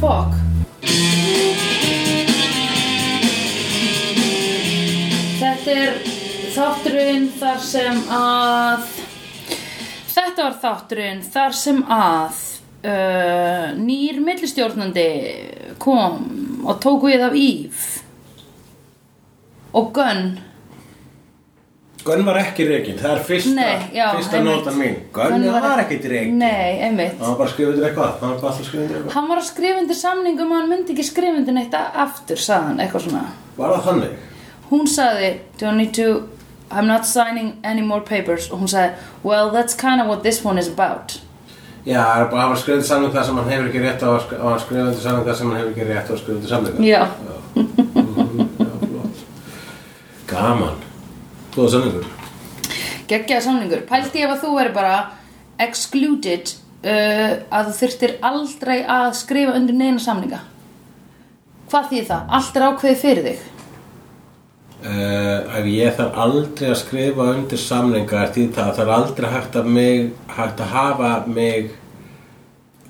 Fuck Þetta er þátturinn þar sem að Þetta var þátturinn þar sem að uh, nýr millistjórnandi kom og tók við af Íf og Gunn Gunn var ekki reygin, það er fyrsta, Nei, já, Ah, fyrsta einmitt. nótan mín Gunn var, ekkert Ah. reygin Nei, einmitt Það var bara skrifundir eitthvað, það var bara alltaf skrifundir eitthvað Hann var að skrifa undir samningum og hann myndi ekki skrifa undir neitt a- aftur, sagði hann, eitthvað svona. Var það þannig? Hún sagði, do I need to, I'm not signing any more papers. Og hún sagði, well, that's kind of what this one is about. Já, það er bara- hann var skrifundir samning það sem hann hefur ekki rétt á að sk- og hann skrifundir samning það sem hann hefur ekki rétt á að skrifundir samning Já. Já, flott Gaman Góða samningur Geggjaða samningur. Pældi ef að þú veri bara excluded uh, að þú þyrftir aldrei að skrifa undir neina samninga. Hvað þýð það? Allt er ákveðið fyrir þig. Uh, ef ég þarf aldrei að skrifa undir samlingar því það þarf aldrei hægt að, mig, hægt að hafa mig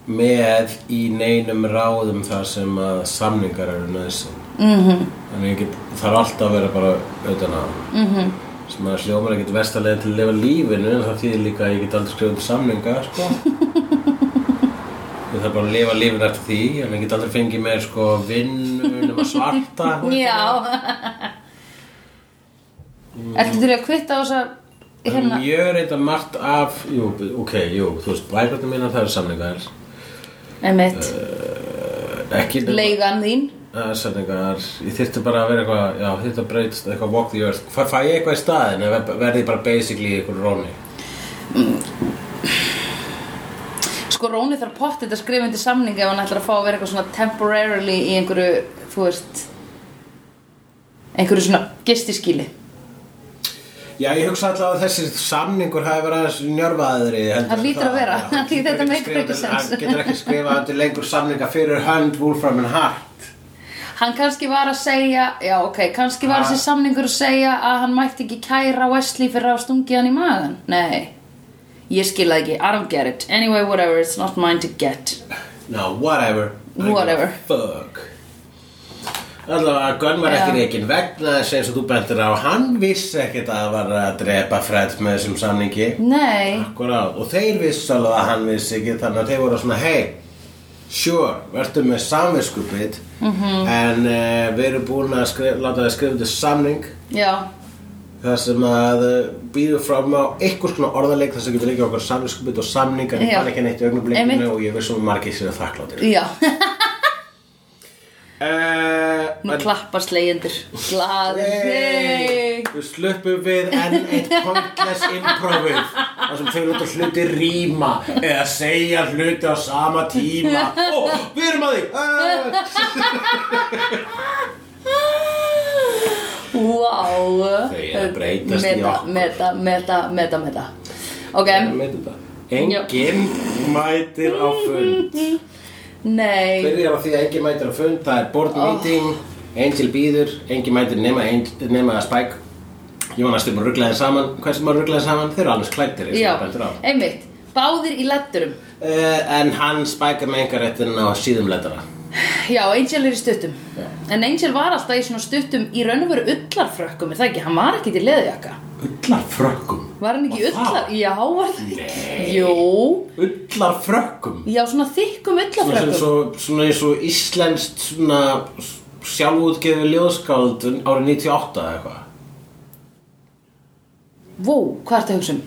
með í neinum ráðum þar sem að samlingar eru nöðsinn mm -hmm. þannig ég get, þarf alltaf að vera bara auðvitað á mm -hmm. sem að hljómar ekkert vestalega til að lifa lífinu en það þýðir líka að ég get aldrei skrifað undir samlinga sko ég þarf bara að lifa lífinu eftir því en ég get aldrei fengið mér sko vinnu nema svarta Já. Ertu til að kvitta á þess að Hérna. hérna? Mjög reynda margt af, jú, ok, jú, þú veist, bækvartum minna það eru samlingar, Einmitt. ekki Leigan þín. Það er samlingar, ég þyrfti bara að vera eitthvað, já, þyrfti að breytast eitthvað walk the earth, fæ, fæ ég eitthvað í staðin eða verði ég bara basically eitthvað róni? Sko Róni þarf pottið að skrifa undir samning ef hann ætlar að fá að vera eitthvað svona temporarily í einhverju, þú veist einhverju svona gistiskíli Já, ég hugsa alltaf að þessi samningur hafi verið aðeins njörfaðri. Hann hlýtur að vera, já, hann hlýtur- getur þetta ekki make skrifað ekki undir- sense. Hann getur ekki skrifað undir lengur samninga fyrir hönd, Wolfram and Hart. Hann kannski var að segja, já ok, kannski var Ha? þessi samningur að segja að hann mætti ekki kæra Wesley fyrir að hafa stungið hann í magan Nei, ég skil það ekki, I don't get it Anyway, whatever, it's not mine to get No, whatever. I don't give a Whatever. Fuck. Alltaf að Gunn var ekki Já. reygin vegna þess eins og þú bentir á, hann vissi ekkert að það var að drepa Fred með þessum samningi. Nei, Akkurát, og þeir vissi alveg að hann vissi ekki, þannig að þeir voru svona, hey, sure, verður með samvinskupið, Mhm. -hmm. en uh, við erum búin að skrif, láta það skrifa þetta samning, já, þar sem að uh, býður fram á einhvers konar orðarleik þar sem getur ekki okkur samvinskupið og samningar, ég Já. fann ekki neitt í Einmitt. augnablikinu og ég vissum að margir sér að þakklátir. já Nú Uh, klappar slegjendur Glaðir Nei. Við sluppum við enn eitt pointless improvið þar sem þau lóta hluti rýma eða segja hluti á sama tíma Ó, við erum að því uh, Wow Þau eru að breytast í meta, okkur. meta, meta, meta, meta Ok, Engin mætir á fund nei Byrjar á því að engin mætir á fund Það er board meeting, Angel býður Engin mætir nema, Angel- nema Spike Jónas, þeir maður rugglaði saman Hversu maður rugglaði saman? Þeir eru alveg klættir Já, einmitt Báðir í letturum Uh, en hann spækar með einhverjættin á síðum lettara Já, Angel er í stuttum Já. En Angel var alltaf í svona stuttum í raun og veru ullarfrökkum Er það ekki? Hann var ekki til leðjaka Ullar frökkum? Var hann ekki Var það? ullar? Já, var það Nei. ekki? Jú Ullar frökkum? Já, svona þykkum Svona sem ullarfrökkum svo, svona eins og íslenskt svona sjálfútgefi ljóðskáld árið 98 eða eitthvað Vó, hvað ertu að hugsa um?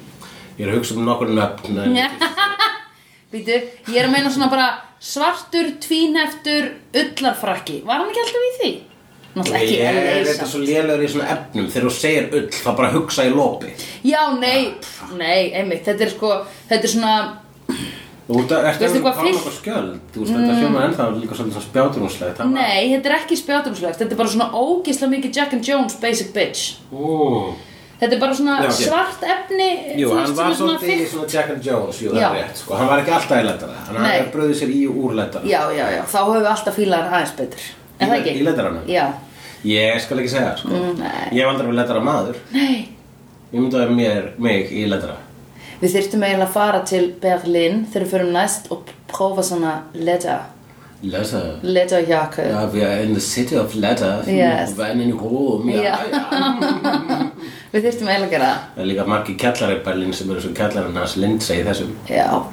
Ég er að hugsa um nokkur nöfn en- Býtu, ég er að meina svona bara svartur, tvíneftur, ullarfrakki. Var hann ekki alltaf í því? Náttúrulega ekki Ég LA er þetta samt. svo lélegur í svona efnum Þegar þú segir ull þá bara hugsa í lopi Já, nei, pff, nei, einmitt, þetta er sko, þetta er svona, Þú ert að Veistu koma hvað fyrst- okkur skjöld Þú veist þetta hljóma ennþá líka svolítið svona spjáturúnslega Það var nei, þetta er ekki spjátumslegt, þetta er bara svona ógislega mikið Jack and Jones basic bitch. Ú. Þetta er bara svona Já, ok. svart efni, Jú, þú hann veist, sem var er svona svolítið í þykk- svona Jack and Jones, jú, það Já. er rétt, sko, hann var ekki alltaf í lettara, hann Nei. hafði bröðið sér í og úr lettara. Já, já, já, þá höfum við alltaf fílaðar aðeins betur. Í En það le- ekki? í lettaranum? Já. Ég skal ekki segja, sko, Mm, nei. ég hef aldrei verið lettara maður, Nei. ég myndaði mér, mig í lettara. Við þyrftum eiginlega að fara til Berlin þegar við förum næst og prófa svona leta letter. Letterjacke. Ja, we are in the city of letters. Yes. Vænin í Róm, já, Já. já. Við þyrftum eiginlega að gera það. Það er líka margi kjallari í Berlín sem eru svo kjallarinn hans Lindsay í þessum. Já.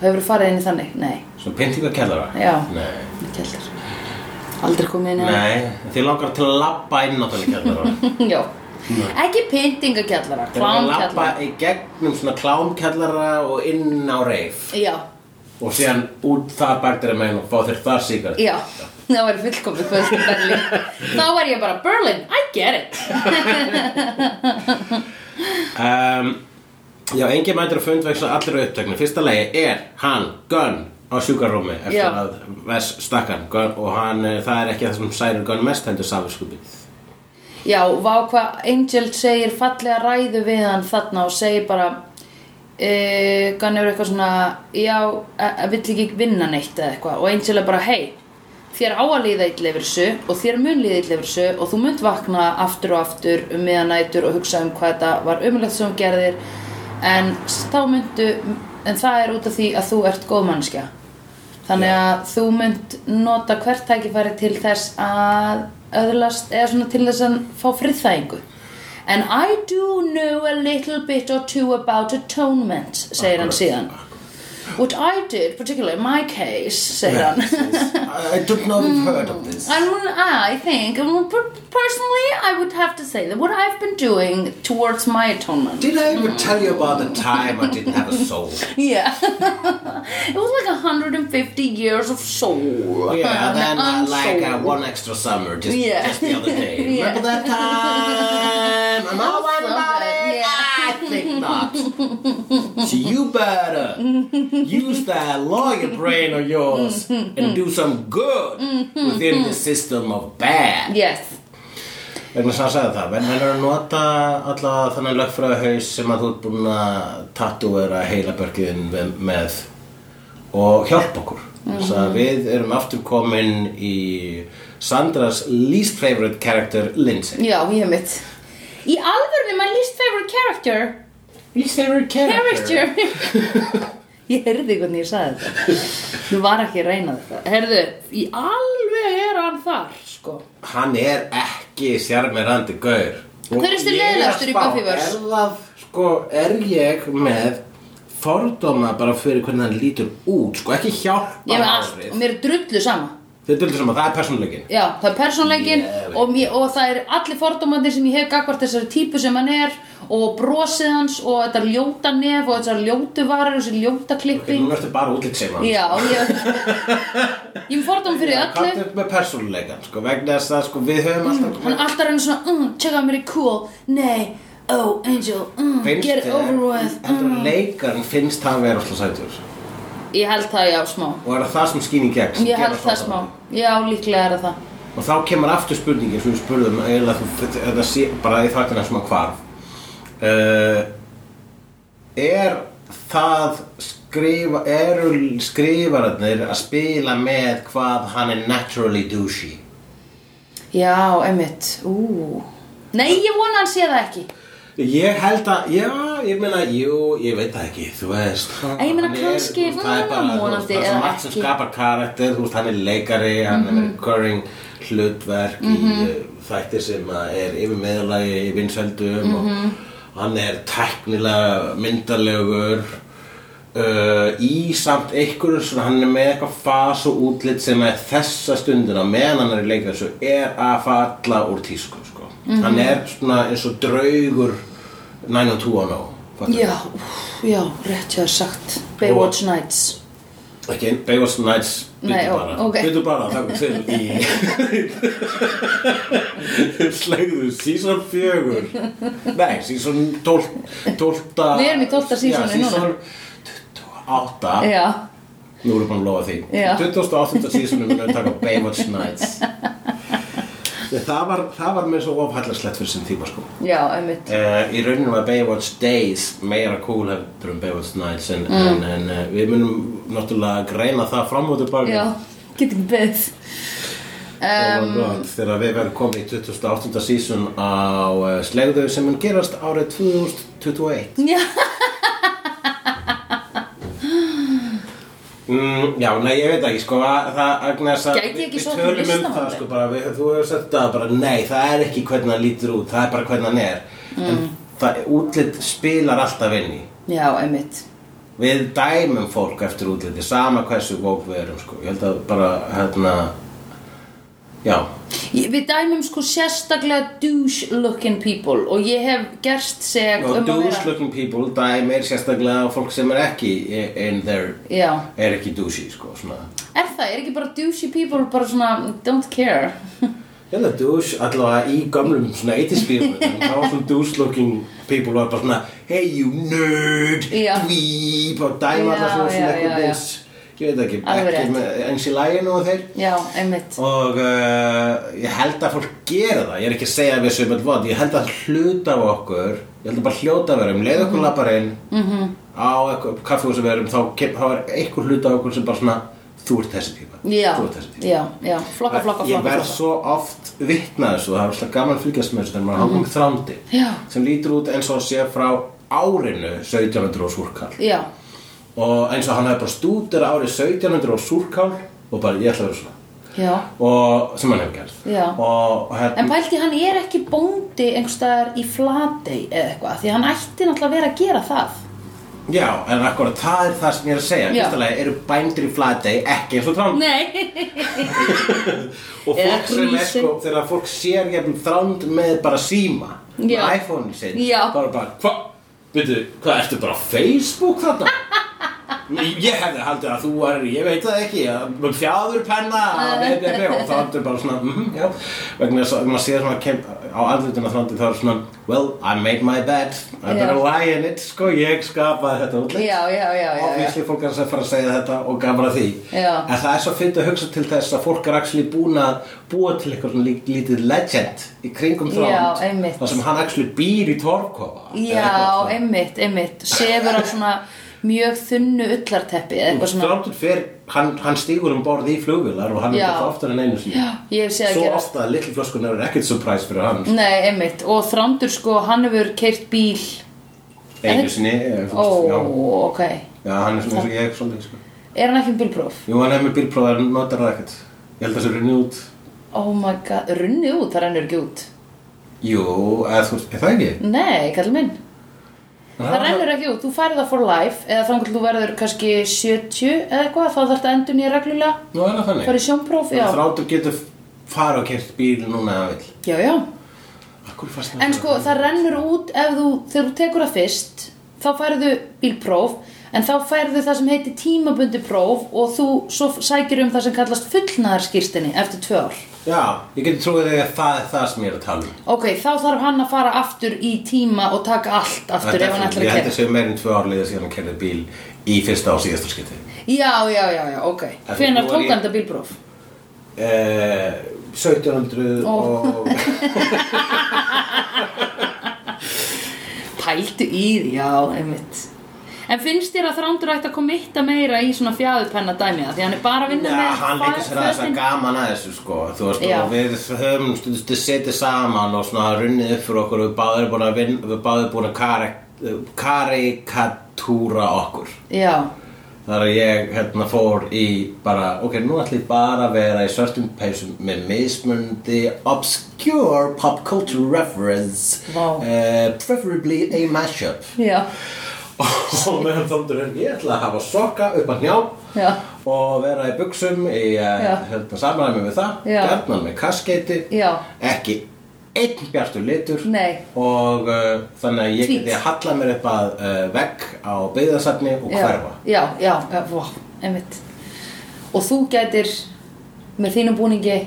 Hefur farið inn í þannig? Nei, Svo pyntingakjallara? Já. Nei. ekki heldur. Aldrei komið inn í það. Nei, þið langar til að labba inn á þannig kjallara. Já. Ekki pyntingakjallara, Þið langar að labba klámkjallara. í gegnum svona klámkjallara og inn á reif. Já, Og síðan út það baktir að meina og fá þér þar síkar. já. Það væri fullkomið hvað sem Berlín. Þá er ég bara Berlin, I get it. Um, já, engin mætir að fund vegna allir upptöknu. Fyrsta lagi er hann, Gunn, á sjúkarrúmi eftir Já. að Vess stakkan. Gunn, og hann, eh, það er ekki það sem særir Gunn mest hendur safiskupið. Já, vá hvað Angel segir fallega ræðu við hann þarna og segir bara uh, Gunn hefur eitthvað svona já, eh, eh, vill ekki vinna neitt eða eitthvað og Angel er bara, hei þér á að líða illa yfir þessu og þér mun líða illa yfir þessu og þú munt vakna aftur og aftur um miðanætur og hugsa um hvað þetta var umlegt sem þú gerðir en s- þá myndu en það er út af því að þú ert góð mannskja Þannig að þú mynd nota hvert tækifæri til þess að öðlast eða svona til þess að fá friðþæðingu. And I do know a little bit or two about atonement, segir hann Akkurat, síðan. What I did, particularly in my case, segir hann. I don't know if you've heard of this. I, mean, I think, um, per- personally, I would have to say that what I've been doing towards my atonement. Did I ever tell you about the time I didn't have a soul? Yeah. it was like 150 years of soul. Yeah, An then uh, like unsoul. uh, one extra summer just, Yeah. just the other day. Yeah. Remember that time? I'm all one about it. Yeah. I think not. so you better use that lawyer brain of yours and do some good Mm-hmm. within the system of bad. Yes. Vegna sem hann sagði það, menn verður að nota alla þannig lögfræðahaus sem að þú ert búin að tattúera heilabörkiðin með, með og hjálpa okkur. Þess Mhm. að við erum aftur komin í Sandras least favorite character, Lindsay. Já, ég mitt Í alvörinu, my least favorite character Least favorite Character Ég heyrði hvernig ég sagði þetta Þú var ekki að reyna þetta Heyrðu, í alveg er hann þar sko. Hann er ekki sjarmirandi gaur. Og Hver er þessi ég að leiðilegastur í spá, Buffy verse? Er það, sko, er ég með fordóma bara fyrir hvernig hann lítur út, sko, ekki hjálpa Ég er með allt og mér er drullu sama Þið döldur saman, það er persónuleikin. Já, það er persónleikin Ég veit og, mér- og það er allir fordómandir sem ég hef gagvart þessari típu sem hann er og brosið hans og þetta ljóta nef og þessar ljótu varir og þessi ljóta Okay, klipping nú ertu bara útlík sem hann. Já, ég Ég er fordóm fyrir öllu Hvað er með persónuleikan, sko, vegna þess að, sko, við höfum alltaf... Mm, Hann alltaf reynir svona, mm, check out mér í cool Nei, oh, Angel, mm, finnst get it þér- over with Heldur að leikarinn finnst hann vera alltaf sætur. Ég held það, já, smá Og er það það sem skýn í gegn? sem Ég gerir held það smá, svona. já, líklega er það það Og þá kemur aftur spurningin sem við spurðum, eiginlega þú- þetta þetta sé bara í þvættina sem að hvarf. Uh, er það skrifa, eru skrifararnir að spila með hvað hann er naturally douchey? Já, einmitt, ú Nei, ég vona hann sé það ekki Ég held að, já, ég meina, jú, ég veit það ekki, þú veist Ég meina, hann er- kannski, þú veist, það er bara, þú veist, vonandi það er eða svo margt sem ekki. skapar karakter, þú veist, hann er leikari, hann er recurring hlutverk í uh, þætti sem að er yfir meðalagi í vinsældum og hann er tæknilega myndalegur uh, í samt einhverjum svona, hann er með eitthvað fas og útlit sem er þessa stundina meðan hann er í leikari svo er að falla úr tísku, sko hann er svona eins og draugur 90210 fattar Já, úff, já, rétt ég að sagt Baywatch Nights Ekki einn Baywatch Nights Nei, byrju ó, bara, ok. byrju bara það kom til í slegðu season 4 nei, season 12 12 Við erum í 12 seasonu já, núna. season 28 Já, nú erum við búin að lofa því Já. 28. seasonu munum við taka Baywatch Nights Nei, það var, það var mér svo ofhallarslegt fyrir sem tíma sko já, einmitt Uh, í rauninu var Baywatch Days meira cool hefður um Baywatch Nights en, Mm. en, en uh, við munum náttúrulega greina það fram og tilbaka Já, get ekki beð um, þegar við verðum komið í 2008. season á uh, slegðu sem mun gerast árið 2021 Já Mm, já, nei, ég veit ekki, sko, að, það, Agnes, að Gæti ég ekki við sótt um tölum um það, listamann? sko, bara, við, þú hefur sett það bara, nei, það er ekki hvernig hann lítur út, það er bara hvernig hann er. Mm. En það, útlit spilar alltaf inn í. Já, einmitt. Við dæmum fólk eftir útliti, sama hversu gók við erum, sko. Ég held að bara, hérna, já, Ég- Við dæmum sko sérstaklega douche looking people og ég hef gerst seg og um að vera... douche looking people dæmir sérstaklega á fólk sem er ekki i- in their, Já. er ekki douchey, sko, svona. Er það? Er ekki bara douchey people bara svona don't care? Ég held að douche, allavega í gömlum svona eitisbíðum, þá var svona douche looking people var bara svona hey you nerd, Já. dweeb og Já, dæma alltaf svona já, svona já, já. eitthvað eins, ég veit ekki, Alveg rétt. ekki með eins í læginu og þeir Já, einmitt. og uh, ég held að fólk gera það, ég er ekki að segja að við sem öll vond, ég held að hluta af okkur, ég held að bara hljóta af verum, leið Mhm. okkur lappar inn -hmm. á eitthvað kaffi sem við erum, um, þá, kem- þá er einhver hluta af okkur sem bara svona þú ert þessi típa, Já, þú ert þessi típa já, já. Flokka, flokka, ég flokka, verð flokka. svo oft vitnað þessu og það er alltaf gaman að fylgjast með þessu þegar maður mm. hákum þrándi Mhm. Já. sem lítur út eins og hann sé frá árinu 1700 og súrkál Já, og eins og hann hefði bara stútur árið 1700 og súrkál og bara ég ætla að vera svona já. og sem hann hefur gerð Já. En og hérna pælti, hann er ekki bóndi einhverstaðar í flatei eða eitthvað, því hann ætti náttúrulega að vera að gera það. já en akkurat það er það sem ég er að segja Já. fyrstulega eru bændur í flatei ekki eins og þrándi Nei. og Eða fólk sem er grýsi. sko þegar fólk sér jafnum þránd með bara síma með Já. iPhone sinn Já. bara bara hva, veitu, hvað ertu bara á Facebook þarna? Nei, ég hefði haldið að þú var, ég veit það ekki að fjáður penna blah, blah, blah, og þá ertu bara svona mm, já, vegna þess að maður sér svona kem, á andlutinu þrándi þá er svona well, I made my bed, I better Já. lie in it sko, ég skapaði þetta útlit Já, já, já, já, já. Obviously fólk er að fara að segja þetta og gaman að því Já. En það er svo fyndið að hugsa til þess að fólk er actually búin að búa til eitthvað svona lí- lítið legend í kringum þránd Já, einmitt. Það sem hann actually býr í torkofa Já, einmitt, einmitt. Sefur á svona mjög þunnu ullarteppi eða eitthvað svona. Þrándur fer, hann, hann stígur um borð í flugvilar og hann Já. er þetta oftar en einu sinni Já, ég hef séð að Svo gera. ofta að litli flöskun er ekkert surprise fyrir hann Nei, einmitt. Og Þrándur sko, hann hefur keirt bíl. Einu sinni, eh, þú Ó, veist, ok. já, já, hann er svona eins og ég svolítið sko. Er hann ekki um bílpróf? Jú, hann er með bílprófa en notar það ekkert Ég held að þessu runni út Oh my god, runnið út, það rennur ekki út. Jú, eða þú veist, er það ekki? Nei, kall minn. Ah. Það rennur ekki út, þú færi það for life eða þannig að þú verður kannski 70 eða eitthvað, þá þarf þetta endur nýja reglulega Nú er það þannig farið sjónpróf, já. Þráttur getur fara og kert bíl núna að vill Já, já. Akkur fannst En sko, það rennur út ef þú, þegar þú tekur það fyrst, þá færðu bílpróf, en þá færðu það sem heitir tímabundi próf og þú svo sækir um það sem kallast fullnaðarskýrstinni eftir tvö ár. Já, ég getur trúið þegar það er það sem ég er að tala um Ok, þá þarf hann að fara aftur í tíma og taka allt aftur ef hann ætlar Ég að held kera. að séu meir en tvö ár liðið síðan að kerði bíl í fyrsta og síðasta skipti Já, já, já, já, ok. Þetta Hvenær nú er tók ég- hann þetta bílpróf? eh, 1700 Ó. og Pæltu í því, já, einmitt. En finnst þér að Þrándur ætti að komitta meira í svona fjáðupenna dæmiða? Því hann er bara að vinna Já, með hann leikur sér að þess að fötin. gaman að þessu sko Þú veist, Já. og við höfum stundstu setið saman og svona runnið upp fyrir okkur og við báðum búin að, vin, við báðum búin að karak- karikatúra okkur Já, Þar að ég hérna fór í bara, ok, nú ætlum ég bara að vera í svörtum peysum með mismundi obscure pop culture reference Vá. eh, preferably a mashup já, og meðan þóndur er ég ætla að hafa sokka upp að njá Já. og vera í buksum í eh, Já. hérna, samræmi við það Já. gjarnan með kaskeiti Já. ekki einn bjartur litur Nei. og uh, þannig að ég Tweet. geti halla mér upp að uh, vegg á byggðasafni já, og hverfa já, já, já, vá, einmitt. Og þú gætir með þínum búningi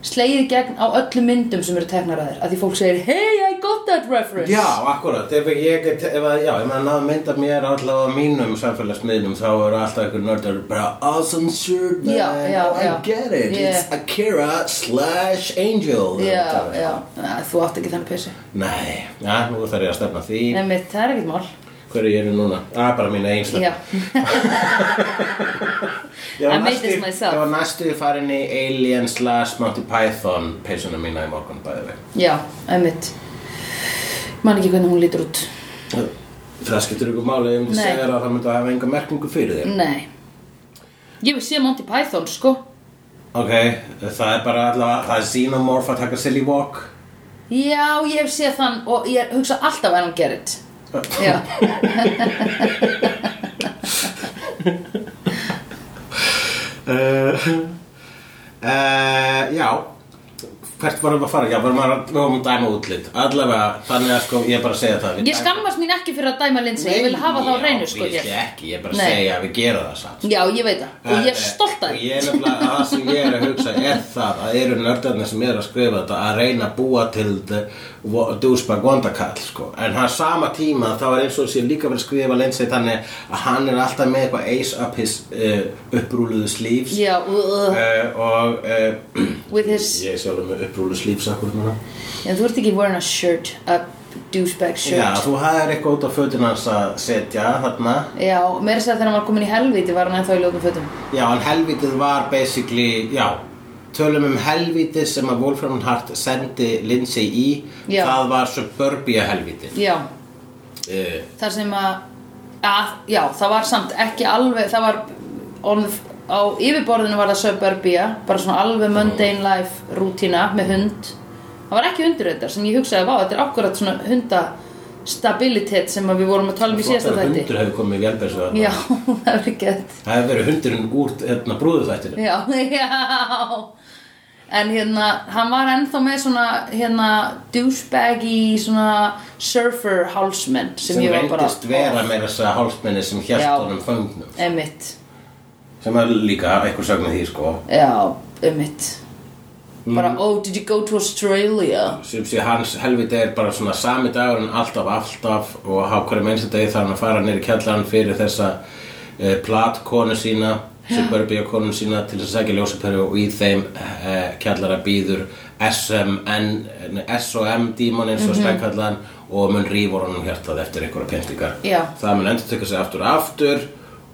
slegið í gegn á öllum myndum sem eru teknar að þér. Að því fólk segir, hey, I got that reference. Já, akkurat, ef ég, ef að, já, ef maður náðu mynda mér allavega á mínum samfélagsmiðnum þá eru alltaf einhver nördar bara awesome shirt man, Já, já, oh, I já. get it, it's Yeah. Akira slash Angel já, Þetta- já. Æ, Þú átt ekki þannig pissi. Nei, já, nú þarf ég að stefna því Einmitt, það er ekkert mál. Hverju ég er núna? Ah, bara mín einn stefna Já, Ég var I made næstu- this myself. Ég var næstu farin í Alien slash Monty Python peysuna mína í morgun bæði við já, einmitt. Man ekki hvernig hún lítur út. Það skiptir ykkur máli, ég myndi Nei. segja þér að það myndi að hafa enga merkingu fyrir þér Nei, Ég vil sé Monty Python, sko Ok, það er bara allavega, það er Xenomorph að taka Silly Walk. Já, ég hef séð þann og ég hugsa alltaf að hann gerir Já Uh, uh, já, hvert varum við að fara? Já, varum við að, við varum að dæma útlit. Allavega, þannig að sko, ég er bara að segja það. Ég skammast mín ekki fyrir að dæma Lindsay, ég vil hafa það á reynu sko Ég ég. vil ekki, ég er bara að Nei. segja að við gera það samt. Já, ég veit það og ég er stolt að Og Eh, Ég er nefnilega að það sem ég er að hugsa er það að eru nördarnir sem eru að skrifa þetta að reyna að búa til the wo- douchebag vondakall sko. en það er sama tíma þá er eins og sé líka verið að skrifa Lindsay þannig að hann er alltaf með eitthvað ace up his uh, upprúluðu slífs Já, uh, uh, og uh, with his ég er sjálfur með upprúluðu slífs akkur núna En þú ert ekki wearing a shirt, a douchebag shirt Já, þú hafðir eitthvað út á fötin hans að setja þarna Já, meira sér þegar hann var komin í helvíti var hann ennþá í ljóðum fötum Já, en helvítið var basically, já, tölum um helvítið sem að Wolfram Hart sendi Lindsay í, Já. það var suburbia helvítið. Já, Uh, þar sem að, að Já, það var samt ekki alveg Það var on, á yfirborðinu var það suburbia bara svona alveg mundane life rútína með hund Það var ekki hundurreitar sem ég hugsaði Vá, þetta er akkurat svona hunda stabilitet sem að við vorum að tala um í síðasta þætti hundur hefur komið í velberðsöðan. Já, það er ekki þetta Það hefur verið hundurinn úr hérna, brúðuþættinu. Já, já En hérna, hann var ennþá með svona hérna, douchebaggy svona surfer hálsmenn sem, Sem ég var bara reyndist vera meira þess að hálsmenni sem hjælt Já. honum föngnum. Emmitt, Sem er líka eitthvað sögna því, sko. já, emmitt Mm. Bara, oh, did you go to Australia? sem sé hans helviti er bara svona sami dagur en alltaf alltaf og á hverju mennstu degi þarf hann að fara nýri kjallan fyrir þessa eh, platkonu sína suburbia konu sína til þess að segja ljósaperu og í þeim eh, kjallara býður SMN, nei, SOM dímon eins og mm og mun rífur honum um hjartað eftir einhverja pyntingar Já. það mun endur tekja sig aftur og aftur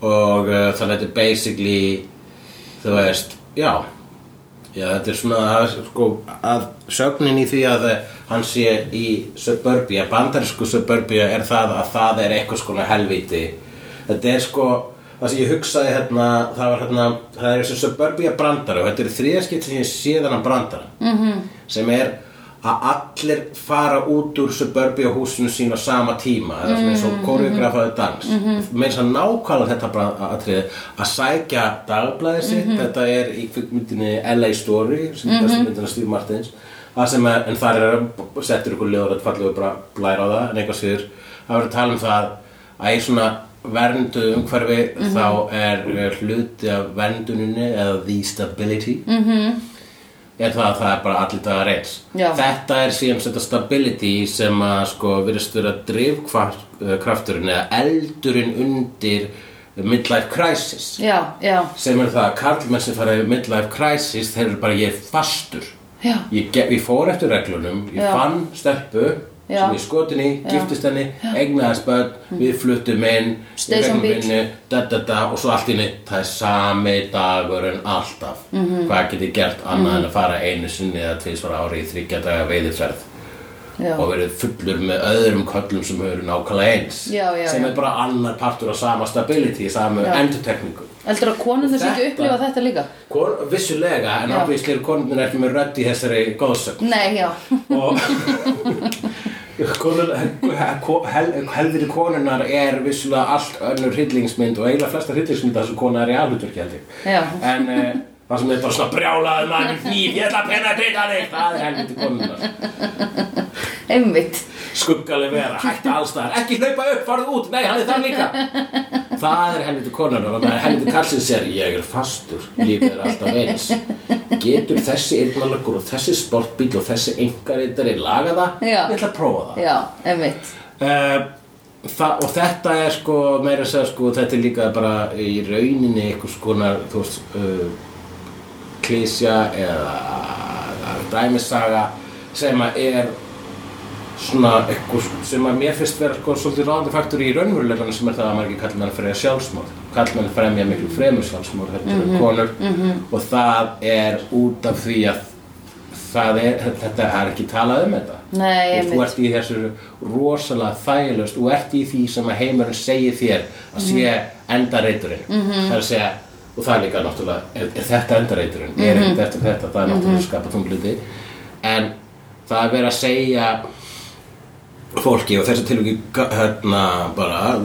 og uh, það lætur basically þú veist, já Já, þetta er svona að, sko, að sögnin í því að eh, hann sé í suburbia, bandarísku suburbia er það að það er eitthvað skona helviti. Þetta er sko, það sem ég hugsaði hérna, það var hérna, það er þessi suburbia brandara og þetta er þriðaskipt sem ég sé þennan brandara. -hmm. Sem er að allir fara út úr suburbia húsinu sín á sama tíma, eða svona eins og koreografaðu dans. Mm -hmm. Með þess að nákvæmlega þetta bara atriði að sækja dagblæði sitt, þetta er í kvikmyndinni LA Story, sem mm -hmm. þessu myndina Steve Martins, að sem er, en þar er settur ykkur ljóður að falla bara blæra á það, en eitthvað síður, það verður að tala um það að í svona verndu umhverfi þá er er hluti af vernduninni eða the stability er það að það er bara allir dagar eins Já. þetta er síðan þetta stability sem að sko virðist vera drifkrafturinn eða eldurinn undir midlife crisis Já, já, sem er það að karlmenn sem fara í midlife crisis þeir eru bara ég er fastur já, ég, ge- ég fór eftir reglunum ég Já. fann stelpu Já. Mm. sem ég skotin í, giftist henni, eignaðast börn, við fluttum inn, Stay some bitch. vinnu, da da da og svo allt inni, það er sami dagurinn alltaf. Mhm. -hmm. Hvað get ég gert annað en að fara einu sinni eða tvisvar ári í þryggja daga veiðiferð já og verið fullur með öðrum köllum sem eru nákvæmlega eins Já, já, sem já. er bara annar partur af sama stability, samu Já. endurtekningu. Heldur að konum þess ekki Þetta- upplifa þetta líka? Kon, vissulega, en Já. obviously er konunir ekki með rödd í þessari góðsögn Nei, já, og konur, hel, helviti konunar er vissulega allt önnur hryllingsmynd og eiginlega flesta hryllingsmynd þar sem kona er í alhutverki held ég Já. en uh, það sem er bara svona brjálaði mann nýf, ég ætla að penna þetta þig það er helviti konunar einmitt skuggaleg vera, hætta allstaðar ekki hlaupa upp, farðu út, nei hann er það líka það er helviti konunar og það er helviti kallsins er ég er fastur lífið er alltaf eins getur þessi eirnalagur og þessi sportbíl og þessi engareitari laga það Já. ég ætla að prófa það Já, einmitt Eh, Það, og þetta er sko meira að segja sko þetta er líka bara í rauninni einhvers konar þú veist uh, klísja eða dæmisaga sem að er svona einhvers sem að mér finnst vera sko svolítið ráðandi faktur í raunverulegan sem er það að margir kallmenn fremja sjálfsmóð kallmenn fremja miklu fremur sjálfsmóð heldur Mhm, en konur -hmm. og það er út af því að það er, þetta er ekki talað um þetta Nei, Og þú einmitt. ert í þessu rosalega þægilegust Mhm. og ert í því sem að heimurinn segir þér að sé endareiturinn. Mm -hmm. Það er að segja, og það er líka náttúrulega, er, er þetta endareiturinn er Mhm. mm -hmm. eftir þetta, það er náttúrulega mm skapa tungliti en það er verið að segja fólki og þessi tilviki hérna bara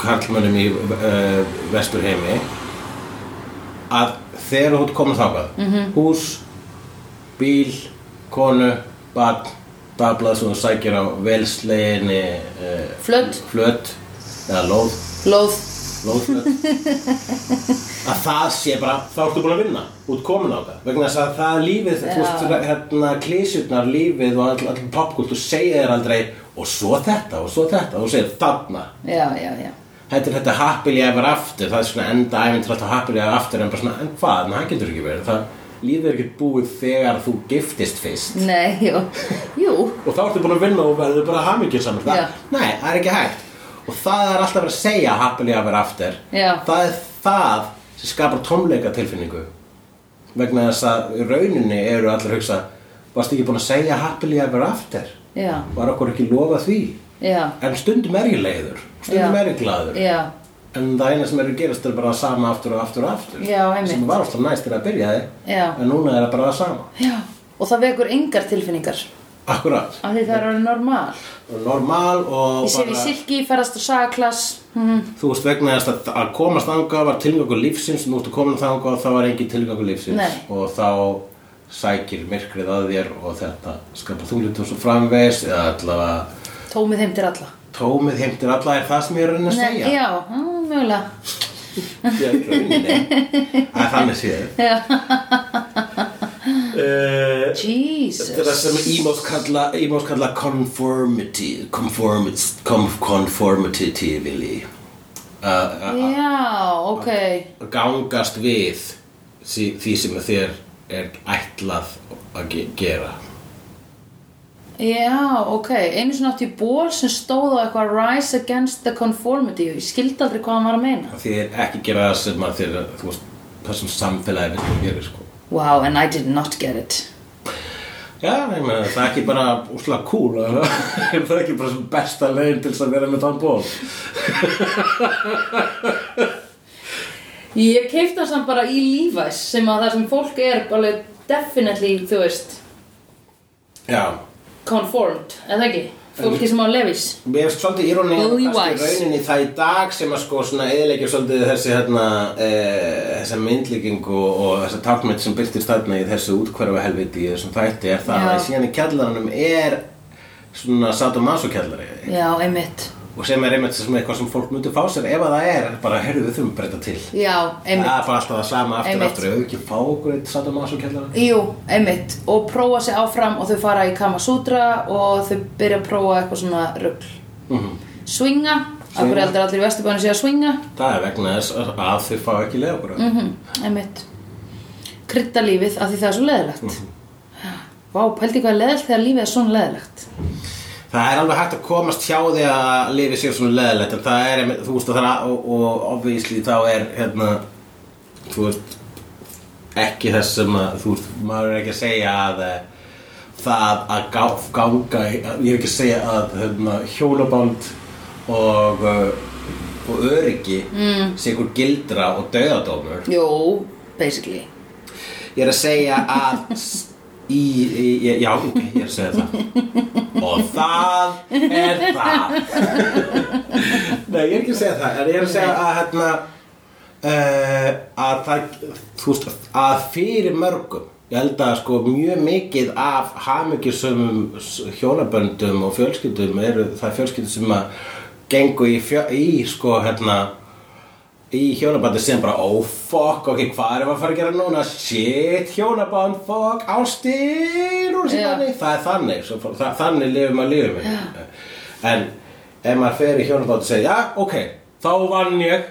karlmönnum í uh, vesturheimi að þegar þú ert komin þangað hús, bíl konu, barn dablað sem þú sækir á velsleginni uh, Flöt. flöt eða lóð Lóð Lóðflöð að það sé bara, þá ertu búin að vinna út komin á það, vegna þess að það er lífið þú veist, hérna klísjurnar lífið og all, all popkult, þú segir þér aldrei og svo þetta, og svo þetta og þú segir þarna, Já, já, já þetta er þetta happily ever after, það er svona enda æfintrætt á happily ever after, en bara svona, en hvað en það getur ekki verið, það lífið er ekki búið þegar þú giftist fyrst Nei, jú Jú og þá ertu búin að vinna og verður bara hamingið saman það, Já. nei, það er ekki hægt og það er alltaf verið að segja happily ever after Já. það er það sem skapar tómleika tilfinningu vegna þess að í rauninni eru allir að hugsa varstu ekki búin að segja happily ever after Já, var okkur ekki lofa því já, en stundum er ég leiður stundum Já. er ég glaður já en það eina sem er að gerast er bara það sama aftur og aftur og aftur Já, einmitt. sem var alltaf næst til að byrja Já. en núna er það bara það sama Já, og það vekur engar tilfinningar akkurat af því það er orðið normal og normal og Ég sé við bara- silki, ferðast á sagaklass mm. Þú veist vegna þess að, að komast þangað var tilgangur lífsins, nú ertu komin þangað og það var engin tilgangur lífsins Nei. og þá sækir myrkrið að þér og þetta skapar þunglut og svo framvegis eða allavega Tómið heim til alla tómið heimtir alla er það sem ég er að reyna að Nei, segja Já, mm, mjögulega Ég er í rauninni. Það er þannig séð Já. Eh, Þetta er það Jesus sem ímós kalla, ímós kalla conformity conformity, conf- conformity vilji uh, Já, ok gangast við því, því sem þér er ætlað að ge gera Já, ok Einu svona átti ég ból sem stóð á eitthvað Rise against the conformity og Ég skildi aldrei hvað hann var að meina því er ekki gera það sem að þér þú veist, það sem samfélagi vil gera sko. Wow, and I did not get it já, ég meina, það er ekki bara úslega cool að- það er ekki bara sem besta leiðin til þess að vera með þann ból Ég keipta hann samt bara í lífæs sem að það sem fólk er alveg definitely, þú veist já, conformed, eða ekki? Fólki sem á lefis Mér finnst svolítið íróni Lily kannski Wise. rauninni það í dag sem að sko svona eðilegja svolítið þessi hérna e, þessa myndlíking og, og þessa tákmynd sem byrtist þarna í þessu útkverfa helviti í þessum þætti er það Já. að síðan í kjallaranum er svona sadomaso kjallari Já, einmitt og sem er einmitt sem eitthvað sem fólk myndi fá sér ef að það er bara heyrðu við þurfum að breyta til Já, það er einmitt bara alltaf það sama aftur Einmitt. og aftur ef við ekki að fá okkur eitt sadomaso kjallara Jú, einmitt og prófa sig áfram og þau fara í Kama Sutra og þau byrja að prófa eitthvað svona rugl Swinga, af hverju aldrei allir í vesturbæðinu sé að swinga það er vegna þess að- að þau fá ekki leið okkur mm Einmitt Krydda lífið af því það er svo leðilegt mm -hmm. Vá, pældi hvað er leðilegt þegar lífið er svona leðilegt Það er alveg hægt að komast hjá því að lifi sér svona leðilegt en það er, einmitt- þú veist, það er að- og, og obvísli þá er, hérna, þú veist, ekki þess sem að, þú veist, maður er ekki að segja að eh, það að gá, ganga, í- að- ég er ekki að segja að hérna, hjólaband og, eh, og öryggi mm. sé ykkur gildra og dauðadómur Jú, basically Ég er að segja að s- í, í, í, Já, ok, ég er að segja það Og það er það Nei, ég er ekki að segja það En ég er að segja að hérna uh, að það þú veist, að fyrir mörgum ég held að sko mjög mikið af hamingjusumum hjónaböndum og fjölskyldum eru það fjölskyldur sem að gengu í, fjö, í sko hérna í hjónabandi sem bara oh fuck, ok, hvað erum við að fara að gera núna shit, hjónaband, fuck ástir og Já. yeah. þannig það er þannig, svo, fór- það, þannig lifum að lifum yeah. en ef maður fer í hjónaband og segir, já, ok þá vann ég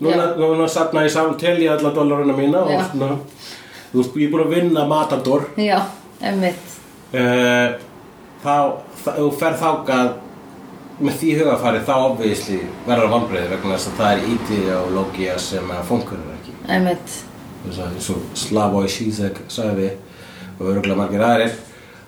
núna, Já. núna safna ég saman til ég alla dólarina mína Já. og svona þú veist, ég er búin að vinna matador Já, einmitt uh, þá, þá, ef þú ferð þákað með því hugafari þá obviðisli verður vambriði vegna þess að það er ideológia sem að funkurir ekki Einmitt þess að eins og Slavoj Zizek sagði og örgulega margir aðrir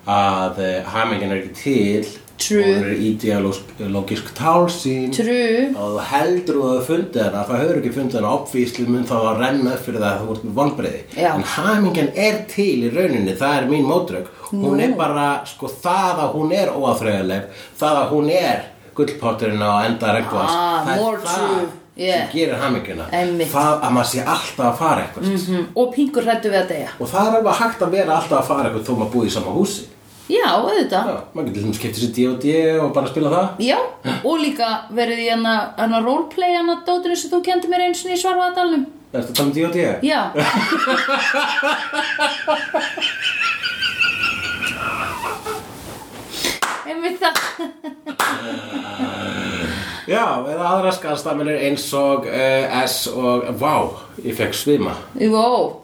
að eh, hamingin er ekki til True. og það er ideológisk tálsýn True. og þú heldur að þú hefur fundið hana það hefur ekki fundið hana obvísli mun þá að renna upp fyrir það að þú ert með vonbreiði Já. en hamingjan er til í rauninni það er mín mótrök hún er bara sko það að hún er óaþreyðileg það að hún er gullpotturinn á enda regnvast Ah, það more er það true. Yeah. sem gerir hamingjuna Einmitt. það að maður sé alltaf að fara eitthvað Mhm, og pingur hrættu við að deyja og það er alveg hægt að vera alltaf að fara eitthvað þó maður búið í sama húsi já, auðvitað Já, maður getur skiptið sér D&D og bara spila það já, og líka verið í hana, hana roleplay hana dótinu sem þú kendi mér eins og í svarfaðadalum Ertu að tala um D&D? já einmitt það Já, eða aðra skallstaminir eins og uh, S og Vá, ég fekk svima wow,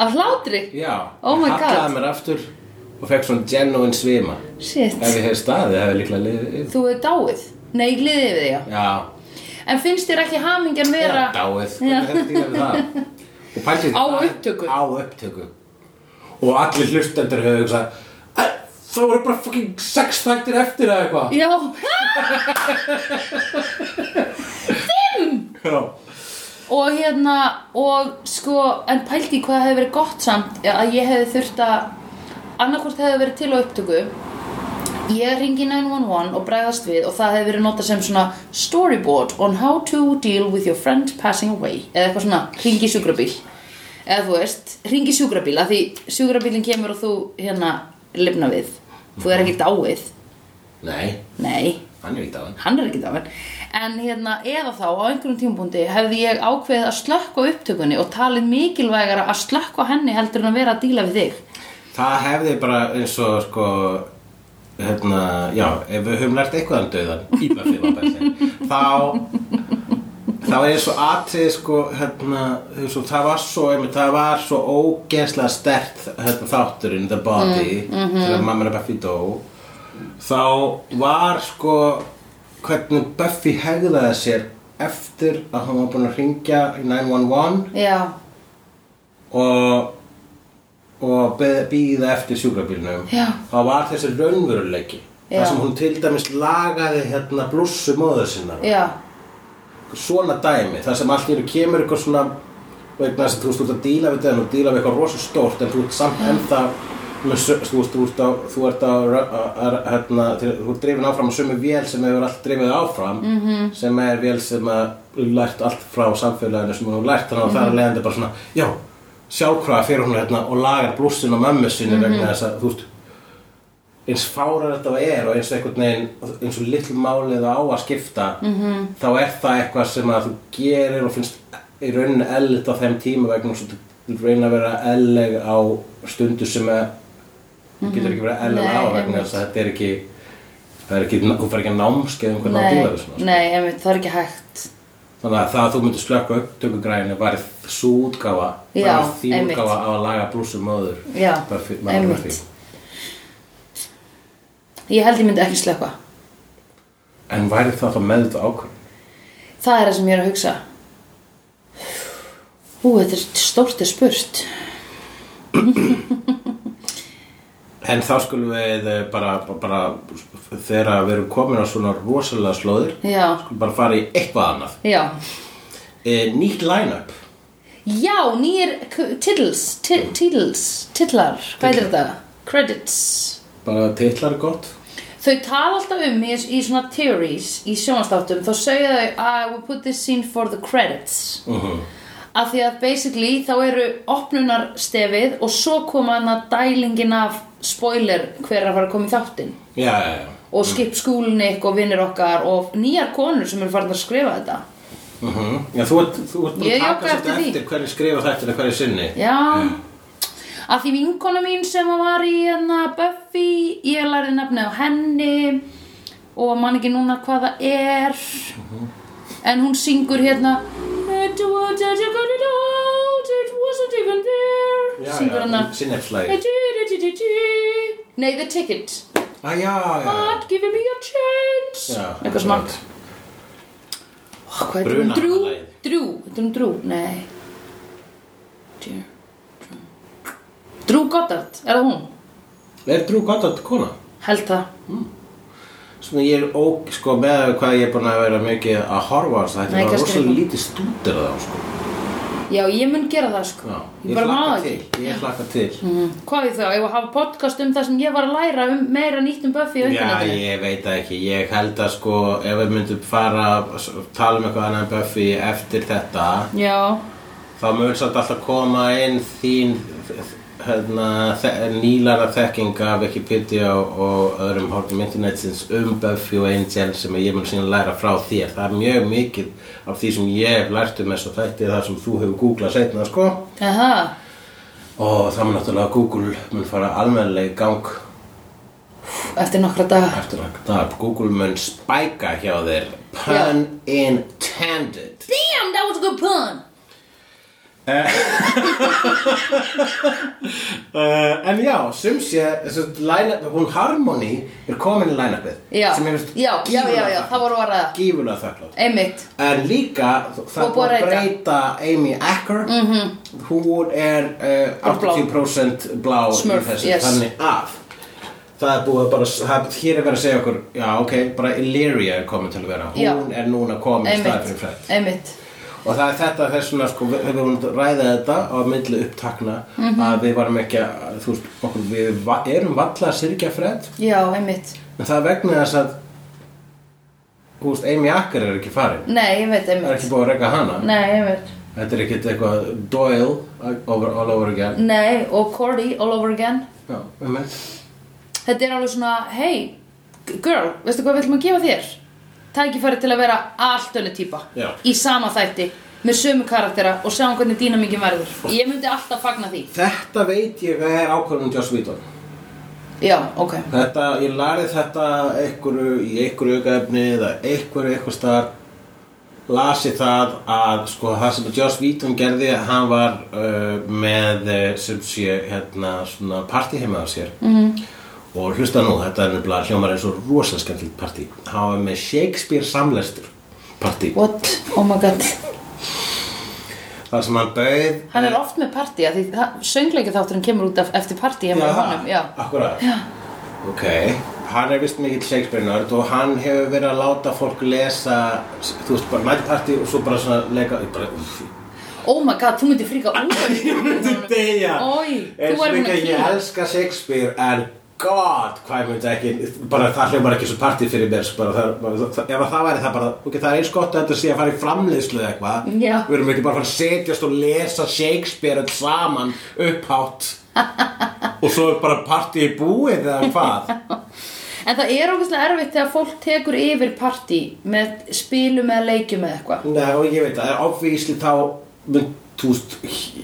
af hlátri Já, Oh my ég hallaði God. mér aftur og fekk svona genuine svima shit, Ef ég hef staðið, hefði líklega liðið þú hefur dáið nei, ég gliði við þig já Já, en finnst þér ekki hamingjan vera já, dáið Hvernig hefði þín hefði það? Og pæltið Á það- upptöku. Á upptöku Og allir hlustendur hefur hugsað "Æ, Það voru bara fucking sex þættir eftir eða eitthvað já, Já, og hérna og sko, en pældi í hvað það hefði verið gott samt að ég hefði þurft að annarkvort hefði verið til á upptöku ég ringi 911 og bregðast við og það hefði verið notað sem svona storyboard on how to deal with your friend passing away eða eitthvað svona ringi sjúkrabíl eða þú veist, ringi sjúkrabíl að því sjúkrabílinn kemur og þú hérna lifna við, þú er ekki dáið nei, nei, hann er ekki dáin hann er ekki dáin en hérna, eða þá á einhverjum tímabúndi hefði ég ákveðið að slökka á upptökunni og talið mikilvægara að slökka á henni heldur en að vera að díla við þig Það hefði bara eins og sko hérna, já, ef við höfum lært eitthvað um döðan í Buffy þá þá er eins og atrið sko hérna, eins og, það var svo einmitt, það var svo ógeðslega stert hérna, þátturinn, the body þegar mamma er Buffy dó þá var sko hvernig Buffy hegðaði sér eftir að hún var búin að ringja í 911 já, og og býða eftir sjúkrabílnum Já. þá var þessi raunveruleiki Já. þar sem hún til dæmis lagaði hérna blússu móður sinna já, svona dæmi, þar sem allir kemur eitthvað svona vegna þess að þú veist, þú ert að díla við þetta og díla við eitthvað rosa stórt en þú ert samt ennþá með sö- þú veist, þú ert á þú ert á, að, hérna, til- þú ert drifin áfram á sömu vél sem hefur allt drifið áfram -hmm. sem er vél sem að lært allt frá samfélaginu sem hún lært þannig að það er leiðandi bara svona, já sjálfkrafa fyrir hún hérna og lagar blússin á mömmu sinni vegna þess að, þú veist eins fárar þetta er og eins einhvern veginn eins og litlu málið á að skipta Mhm. -hmm. þá er það eitthvað sem að þú gerir og finnst í rauninni ellit á þeim tíma vegna þess að þú reyna að vera elleg á stundu sem að þú getur ekki verið elleg Mhm. Nei, á vegna þess að þetta er ekki það er ekki, þú fer ekki að námskeið um hvernig á nei, díla við svona sko. nei einmitt, það er ekki hægt þannig að það að þú myndir slökka upptökugræðinu var svo útgáfa Já, var því einmitt. útgáfa á að laga blúsum öður Já, einmitt. ég held ég myndi ekki slökka en væri það þá með þetta ákvörð það er það sem ég er að hugsa hú, þetta er stórt er spurt En þá skulum við eh, bara, bara, bara þegar við erum komin á svona rosalega slóðir já, skulum bara fara í eitthvað annað já e, Nýtt line-up já, nýjir k- titles, ti- titles titlar, hvað er þetta? credits bara titlar er gott Þau tala alltaf um í, í svona theories í sjónastáttum þá segja þau að we put this scene for the credits uh -huh. af því að basically þá eru opnunarstefið og svo koma hann að dælingin af spoiler hver er að fara að koma í þáttinn Já, já, já og skip skúlnik og vinnir okkar og nýjar konur sem eru farin að skrifa þetta Uh Já, þú ert, þú ert búin Ég að jóka taka eftir svolítið því. eftir hverju skrifa þetta eða hverju sinni Já Að því vinkona mín sem var í hérna Buffy, ég lærði nafnið á henni og man ekki núna hvað það er en hún syngur hérna It was as you got it out, it wasn't even there syngur hérna Sinnefslægi Nei, the ticket ah, Já, já, já God give me a chance Já, Eitthvað smart Ó, Hvað er þetta um Bruna drú? lagið. Drú, þetta er um drú, nei Dear Drew. Drew Goddard, er það hún? Er Drew Goddard kona? Held það svona ég er ók, sko, með hvað ég er búin að vera mikið að horfa á þess að Nei, þetta var kannski rosalega ekki. lítið stútir á þá, sko. Já, ég mun gera það sko Já, Ég, bara má hlakka það ekki til, ég hlakka til. mm. Hvað er það? Ég var að hafa podcast um það sem ég var að læra um meira nýtt um Buffy á Já, internetinu ég veit það ekki. Ég held að sko, ef við myndum fara að s- tala um eitthvað annað en Buffy eftir þetta, Já, þá mun samt alltaf koma inn þín hérna, þe- nýlara þekkinga af Wikipedia og öðrum hortum internetsins um Buffy og Angel sem ég mun síðan læra frá þér. Það er mjög mikið af því sem ég hef lært um þessu þætti, það sem þú hefur googlað setna, sko. aha Og það mun náttúrulega Google mun fara almennilega í gang Eftir nokkra daga Eftir að dag, Google mun spæka hjá þér Pun intended Damn, that was a good pun uh, En já, sum sé þessi line-up- hún Harmony er komin í line-upið Já, sem er já, já, já, já, það voru orðað gífulega þakklátt Einmitt En líka, það Og búið að búið að breyta Amy Acker mm -hmm. Hún er uh, Bara blá. 80% blá í Smurf, þessu, yes. Þannig að Það er búið að bara, það, hér er verið að segja okkur Já, ok, bara Illyria er komin til að vera Hún Já. er núna komin í staðar fyrir Einmitt, Fred einmitt Og það er þetta þessuna sko, við við vorum að ræða þetta á milli upptakna Mhm. að við varum ekki að, þú veist, okkur, við va erum valla að syrgja fred Já, einmitt en það er vegna þess að, þú veist, Amy Acker er ekki farin Nei, ég veit það er einmitt ekki búið að reyka hana Nei, einmitt þetta er ekkit eitthvað Doyle over, all over again Nei, og Cordy all over again Já, um eitt Þetta er alveg svona, hey, g- girl, veistu hvað við ætlum að gefa þér? Tækifæri til að vera allt önnur típa Já. Í sama þætti, með sömu karaktera og sjáum hvernig dýna mikið verður Ég myndi alltaf fagna því Þetta veit ég að er ákvörðunum Joss Whedon Já, ok Þetta, ég lærið þetta einhverju, í einhverju aukaefni eða einhverju eitthvað starf lasi það að sko það sem Joss Whedon gerði hann var uh, með eh, sem sé hérna svona partí heima á sér mm. og hlusta nú, þetta er nefnilega hljómar eins og rosaskendlitt partí hann var með Shakespeare samlestur partí What? Oh my god þar sem hann bauð Hann er oft með partí, af því söngleikið þátturinn kemur út af, eftir partí hjá honum Já, akkurat já. ok, hann er vist mikill Shakespeare-nörd og hann hefur verið að láta fólk lesa þú veist, bara nættparti og svo bara svona leika ég bara, úff, oh my god, þú myndir fríka út af því. deyja Oj, eins þú og erum með mikið að ég elska Shakespeare en god, hvað ég myndi ekki bara það hljómar ekki svo partí fyrir mér sko, bara, það, bara, það, ef að það væri það bara ok, það er eins gott að þetta sé að fara í framleiðslu eða eitthvað Já. við erum ekki bara að fara að setjast og lesa Shakespeare öll saman upphátt og svo er bara partí í búið eða hvað En það er ógæslega erfitt þegar fólk tekur yfir partí með spilum eða leikjum eða eitthvað Nei, og ég veit að það er obvísli þá mynd, þú veist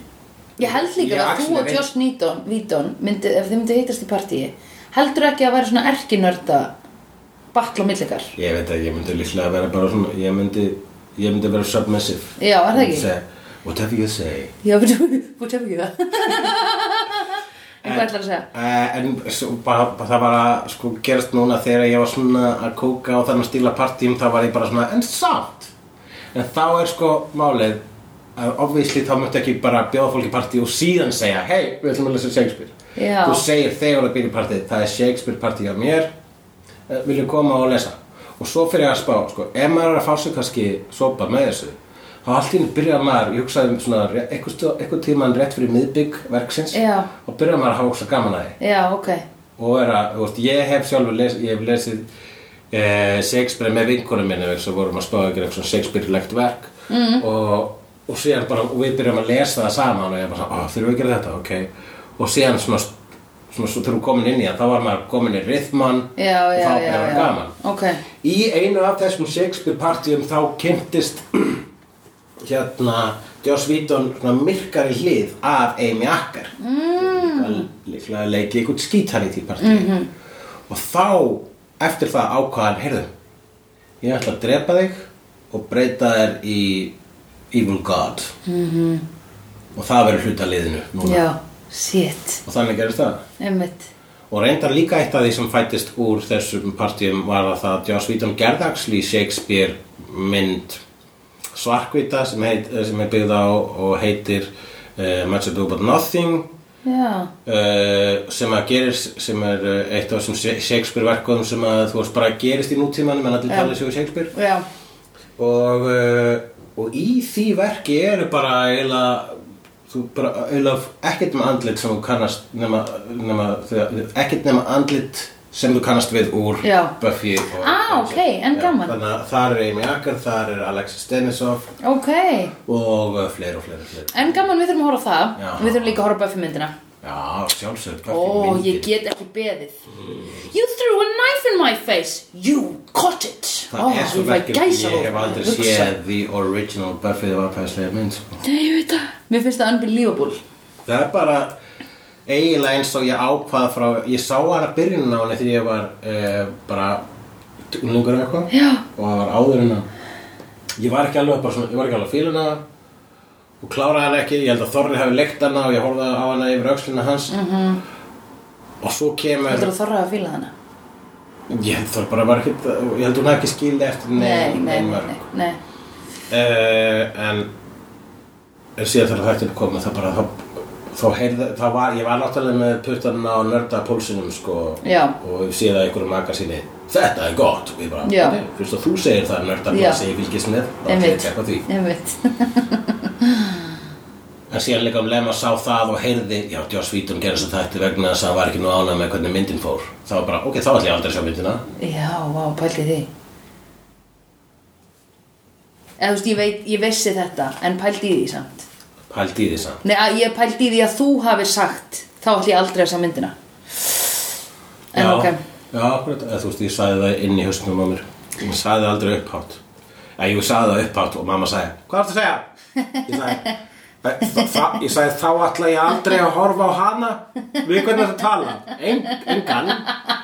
Ég held líka Ég að þú actually og veit- Josh Nýton, Víton, myndi, ef þið myndu hittast í partíi, heldur ekki að vera svona erkinörda batla á millikar. Ég veit að ég myndi líklega að vera bara svona ég myndi, ég myndi vera submissive Já, er það ekki? Ég myndi segja, Whatever you say Já, veitu, þú tefum ekki það. en hvað ætlar að segja? Uh, en svo, bara, bara, það var að sko, gerast núna þegar ég var svona að kóka og þannig að stíla partíum þá var ég bara svona en samt en þá er sko málið að obvísli þá möntu ekki bara bjóða fólki partí og síðan segja hei við ætlum að lesa Shakespeare Já. þú segir þegar að byrja partíð það er Shakespeare partí á mér uh, viljum koma og lesa og svo fyrir ég að spá sko, ef maður er að fá sig kannski sopa með þessu þá allt í henni byrjar maður, ég hugsaði um svona re- einhvers tó- einhvern tímann rétt fyrir miðbygg verksins Já. og byrjar maður að hafa okkur gaman að því Já, ok. og er að, þú veist, ég hef sjálfur les, ég hef lesið eh, Shakespeare með vinkonum minni vegna þess að vorum að spáða ekki eitthvað Shakespeare-legt verk mm. og, og síðan bara, og við byrjum að lesa það saman og ég bara, að þurfum við að gera þetta, ok og síðan svona, svona svo þegar við komin inn í það, þá var maður komin í rithman Já, já, og já, já. þá byrjum við gaman Ok. Í einu af þessum Shakespeare-partíum þá kynntist hérna Joss Whedon svona myrkari hlið af Amy Acker mm. líklega leikið einhvern skítalít í partíu mm -hmm. og þá eftir það ákvaðan heyrðu, ég ætla að drepa þig og breyta þér í Evil God mm -hmm. og það verður hluta liðinu núna Já, shit. og þannig gerist það Einmitt. Og reyndar líka eitt af því sem fættist úr þessum partíum var að það Joss Whedon gerðaksli Shakespeare mynd eh, svarkvita sem, heit, sem er byggð á og heitir uh, Much Ado But Nothing já, uh, sem að gerist sem er uh, eitt af þessum Shakespeare verkum sem að þú veist bara gerist í nútímanum en allir tala sig um Shakespeare já, og, uh, og í því verki eru bara eiginlega þú bara eiginlega ekkert með andlit sem þú kannast nema, nema, þegar- ekkert nema andlit sem þú kannast við úr Já. Buffy og, Ah, ok, en gaman. Já, þannig að þar er Amy Acker, þar er Alexis Denisoff ok og uh, fleiri og fleiri, og fleiri. en gaman, við þurfum að horfa á það Já. við þurfum líka að horfa á Buffy myndina já, sjálfsög ó, Oh, ég get ekki beðið you threw a knife in my face you caught it það Ó, er svo ég fæ verkefni, gæsahúð ég hef aldrei að hugsa. séð the original Buffy the Vampire Slayer mynd sko. Nei, ég veit það. Mér finnst það unbelievable. Það er bara eiginlega eins og ég ákvað frá ég sá hana byrjunin á henni þegar ég var e, bara unglingur eða eitthvað Já. og það var áður en að ég var ekki alveg bara svona, ég var ekki alveg fíluna og kláraði hana ekki, ég held að Þorri hafi leikt hana og ég horfði á hana yfir öxlina hans -hmm. Mhm. og svo kemur Þetta er að þorra að fíla hana. ég held það bara var ekki, ég held hún hafi ekki skildi eftir Nei, nein, nei, nein nei, mörg nei. uh, en en síðan þegar þættin kom það bara þá, þá heyrði, það var, ég var náttúrulega með puttanum á nörda pólsinum sko Já. og ég séð að einhverju magasíni þetta er gott, við bara, Já. "Nei, fyrst að þú segir það nörda Já. pólsi, ég fylgist með þá ætla ég að Einmitt, keppa því, einmitt. en síðan líka um lemma sá það og heyrði, já, Joss Vítum gerði svo þætti vegna þess að hann var ekki nú ánað með hvernig myndin fór, það var bara, ok, þá ætla ég aldrei að sjá myndina Já, vá, pældi því. Eða, þú veist, ég, veit, ég vissi þetta, en pældi í því samt. pældi í því samt Nei, að ég pældi í því að þú hafi sagt, þá ætli ég aldrei að sjá myndina. En já, ok, já, akkurat, eða, þú veist, ég sagði það inn í hausnum á mér Ég sagði það aldrei upphátt Eða, ég sagði það upphátt og mamma sagði Hvað ertu að segja? Ég sagði, "Þa- þa- þa- ég sagði þá ætla ég aldrei að horfa á hana Við hvernig það tala Eng, Engan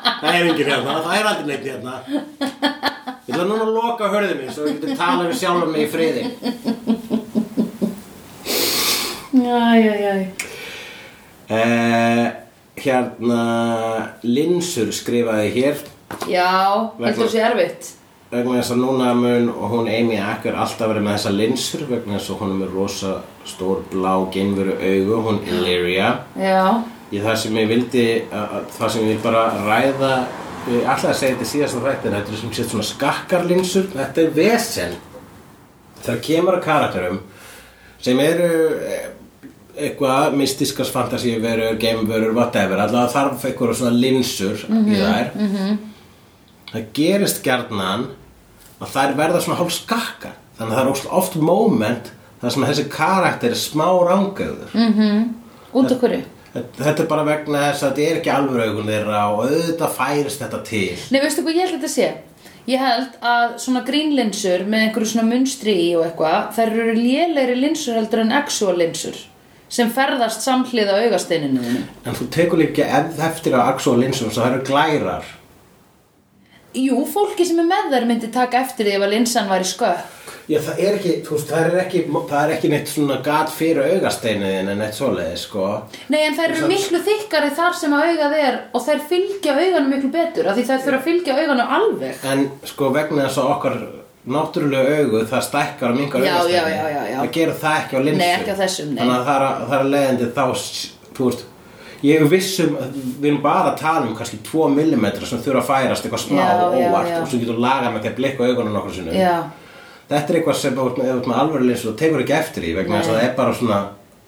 Það er engin hérna, það er aldrei neitt hérna Ég ætla núna að loka hörðið mér Svo ég geti talað við sjálfum mig í friði já, já, já. eh, Hérna Linsur skrifaði hér Já, Vegna- heldur þú sé erfitt? vegna þess að núna mun og hún Amy Acker alltaf verið með þessa linsur vegna þess að hún er með rosa stór blá genveru augu, hún Illyria Já, ég það sem ég vildi að- að- það sem ég vil bara ræða ég ætlaði að segja þetta í síðasta þrættin þetta er sem sett svona skakkarlinsur þetta er vesen það kemur að karakterum sem eru eh, eitthvað mystiskas fantasíverur, geimverur, whatever allavega þarf eitthvað svona linsur í þær það gerist gjarnan að þær verða svona hálf skakka þannig að það er ósl- oft moment þar sem þessi karakter er smá rangauður út af hverju? Þetta þetta er bara vegna þess að þetta er ekki alveg augun þeirra og auðvitað færist þetta til. Nei, veistu hvað ég held að þetta sé? Ég held að svona grínlinsur með einhverju svona munstri í og eitthvað, þær eru lélegri linsur heldur en actual linsur sem ferðast samhliða augasteininu þínu. En þú tekur líka ef- eftir að Axel og Linsum svo það eru glærar. Jú, fólki sem er með þær myndi taka eftir því ef að linsan væri skökk. Já, það er ekki, þú veist, það er ekki, það er ekki neitt svona gat fyrir augasteinuðin en neitt svoleiði, sko. Nei, en þær eru miklu þykkari þar sem að augað er og þær fylgja auganum miklu betur af því þær þurfa að fylgja auganum alveg. En sko vegna þess að okkar náttúrulega augu, það stækkar og mingar Já, augasteinu. já, já, já, já. Það gerur það ekki á Linsum. Nei, ekki á þessum, nei. Þannig að það er, að- það er leiðandi þá, s- þú veist, ég er viss um, að við erum bara að tala um kannski 2 mm sem þurfa að færast eitthvað smá Já, og já, óvart já. og svo getur lagað með því að blikka augunum nokkur sinnum. Já, Þetta er eitthvað sem ef þú ert með- ef þú ert með alvöru lins og tekur ekki eftir því vegna þess að það er bara svona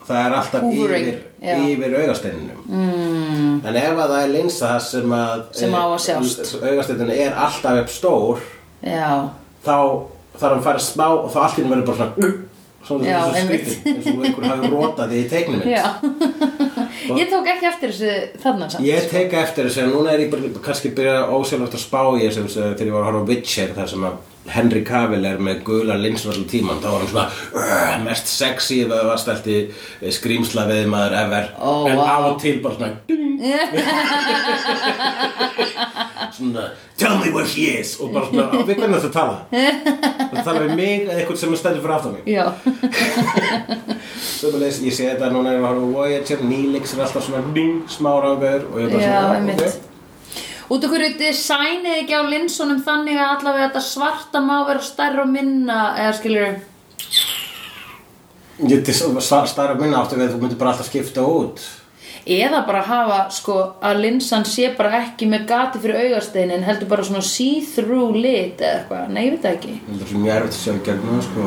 það er alltaf Hoovering, yfir, já. yfir augasteininum mm. en ef að það er linsa það sem að Sem á að sjást. augasteinin er alltaf upp stór já, þá þarf hann að fara smá og þá allt í henni verður bara svona svona Já, þessu einmitt. skrýtin eins og einhver hafi rótað því í teiknum já. ég tók ekki eftir þessu þarna samt. Ég teka eftir þessu en núna er ég bara, kannski byrja ósjálfætt að spá í þessu þessu þegar ég var að horfa á Witcher þar sem að Henry Cavill er með gula linsur allir tíman þá var hann svona "Ugh, mest sexy ef það var stælt í skrýmsla við maður ever Ó, en vá. á og til bara svona ding. svona tell me where she is og bara svona "Á, við hvernig það tala það tala við mig eða eitthvað sem er stættur fyrir aftan mig Já, Sömulegis, ég sé þetta núna ef ég horfa á Voyager, Nýlix er alltaf svona ding, smá ráður og ég er bara já, svona einmitt. "Ok." Út af hverju designið ekki á linsunum þannig að allavega þetta svarta má vera stærra og minna eða skilur Ég til starra minna áttu við að þú myndir bara alltaf skipta út eða bara hafa sko að linsan sé bara ekki með gati fyrir augasteinin heldur bara svona see-through lit eða eitthvað, nei ég veit það ekki Ég held að það er mjög erfitt að sjá í gegnum það sko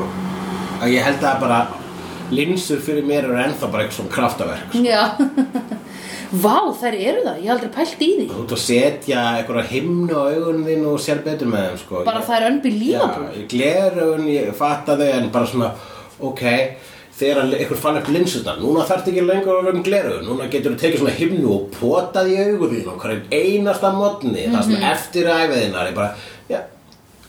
að ég held að bara linsur fyrir mér eru ennþá bara eitthvað svona kraftaverk sko. já, vá þær eru það ég hef aldrei pælt í því þú ert að setja einhverja himnu á augunum þín og sér betur með þeim sko bara það er unbelievable Já, gleraugun, ég fatta þau en bara svona, ok þegar einhver fann upp linsutna, núna þarf ekki lengur að vera um gleraugun, núna getur þú tekið svona himnu og potað í augunum og hverjum einasta modni, það sem Mhm. eftir æfiðinar, ég bara, já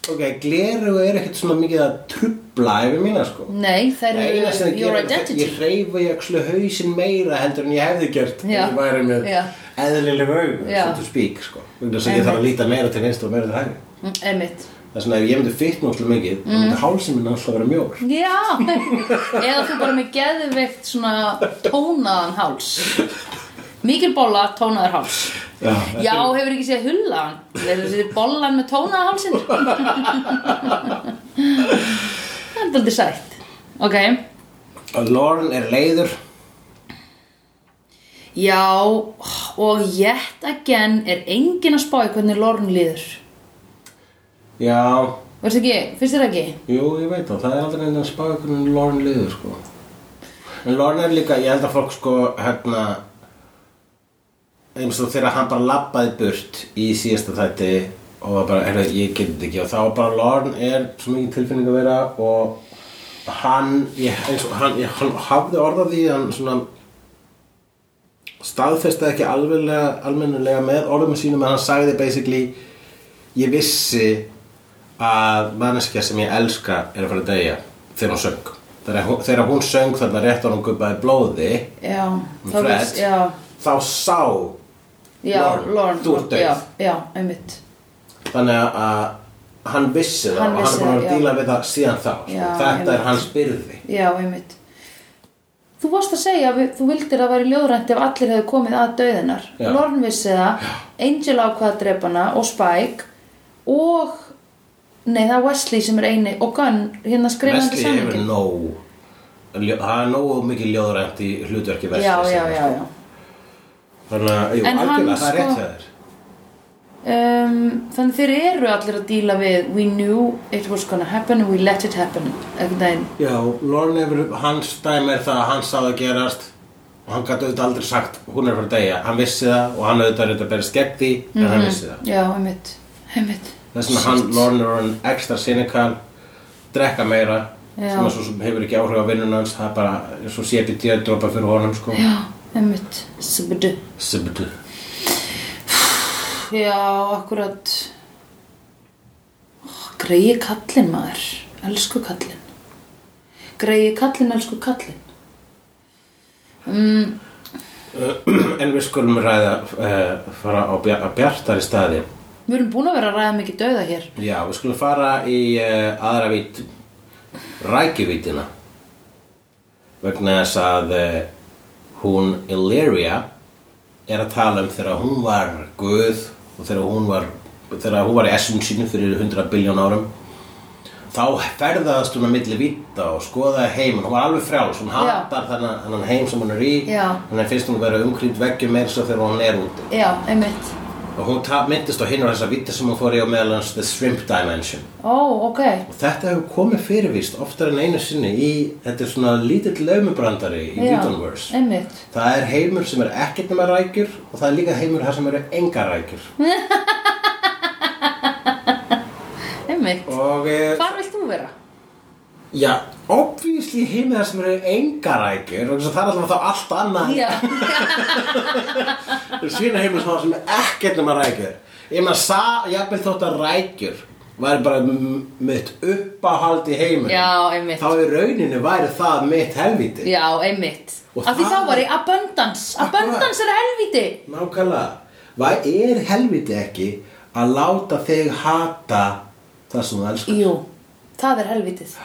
ok, gleraugu er ekkert svona mikið að trubla æfið mína, sko nei, þær Það eina sem eru það your gerir, identity ég reyfa ég akslu hausinn meira heldur en ég hefði gert ef Já. ég væri með Já. eðlileg augun, Já. svo þú spík, sko vegna þess að ég þarf að líta meira til vinst og meira til hægri Mm, einmitt Það er svona ef ég myndi fitna alltaf mikið, þá myndi hálsinn minn alltaf vera mjór. Já, eða þú bara með geðveikt svona tónaðan háls Mikil bolla, tónaður háls Já, Já, hefur ekki séð hullaðan Þeir séð bollan með tónaðan hálsinn Það er aldrei sætt Ok, Og Lauren er leiður, já og yet again er engin að spáði hvernig Lorne líður já, Verstu ekki, finnst þér ekki? jú, ég veit það, það er aldrei einnig að spá ykkur en Lauren leiður, sko. En Lauren er líka, ég held að fólk, sko, hérna, eins og þegar hann bara labbaði burt í síðasta þætti og var bara, hérna, ég get þetta ekki og þá var bara Lauren er svo mikið tilfinning að vera og hann, ég, eins og hann, ég, hann hafði orðað því, hann svona, staðfesta ekki alveglega, almennilega með orðum sínum en hann sagði basically ég vissi að manneskja sem ég elska er að fara að deyja þegar hún söng þegar hún, þegar hún söng þarna rétt á hún gubbaði blóði Já, þá Fred. veist, já þá sá Já, Lorne, Lorne, þú ert dauð. Já, já, einmitt þannig að hann vissi það Hann og hann vissi er það, búin að já. díla við það síðan þá sko. Já, þetta einmitt. er hans byrði Já, einmitt Þú varst að segja að við- þú vildir að væri ljóðrænt ef allir hefðu komið að döðinar Já. Lorne vissi það, Angel ákvaða drepana og Spike og nei það er Wesley sem er eini og Gunn hérna skrifandi Vesli hefur samningin nóg ljó- það er nógu mikið ljóðrænt í hlutverki Vesli Já, já, já, já þannig að, jú, En hann, algjörlega, það sko- er rétt það er um, Þannig þeir eru allir að díla við We knew it was gonna happen we let it happen einhvern veginn Já, Lorne hefur, hans dæmi er það að hann sá það gerast og hann gæti auðvitað aldrei sagt hún er fyrir degja, hann vissi það og hann auðvitað er auðvitað að bera skegg því en Mhm. hann vissi það. Já, einmitt, einmitt Þess vegna hann, Lorne er orðinn ekstra sinikal, drekka meira, Já. sem, er svo, sem hefur ekki áhrif á vinnun hans, það er bara er svo sépi djöðdropa fyrir honum sko. Já, einmitt Sbdu Sibbidu. Já, akkurat Greiði kallinn maður Elsku kallinn Greiði kallinn, elsku kallinn En við skulum ræða, uh, fara á bjar- á bjartari staði. Við erum búin að vera að ræða mikið dauða hér Já, við skulum fara í uh, aðra vít rækjuvítina vegna þess að uh, hún Illyria er að tala um þegar hún var guð og þegar hún var, þegar hún var í essum sínu fyrir 100 biljón árum þá ferðaðast hún að milli víta og skoðaði heiminn, hún var alveg frjáls hún hattar þennan þennan heim sem hún er í Já. þannig finnst hún vera umkrýnd veggjum eins og þegar hún er úti Já, einmitt og hún ta- myndist á hinn og þessa víta sem hún fór í á meðalans The Shrimp Dimension Ó, ok Og þetta hefur komið fyrirvist oftar en einu sinni í, þetta er svona lítill laumubrandari í Já, Gutenverse. Einmitt Það er heimur sem er ekkert nema rækjur og það er líka heimur þar sem eru engar rækjur. Einmitt Og, e, Hvar vilt þú vera? já, obvísli heimur þar sem eru engar rækjur og það er alltaf þá allt annað. Já, Það er svína heimur sem- sem er ekkert nema rækjur. Ég meina, sa, jafnvel þótt að rækjur væri bara m- mitt uppáhald í heimur. Já, einmitt. Þá í rauninni væri það mitt helvítið. já, einmitt Og Af því þá það- var ég abundance Abundance er helviti Nákvæmlega. Hvað er helviti ekki að láta þig hata það sem þú elskar? Jú, það er helvitið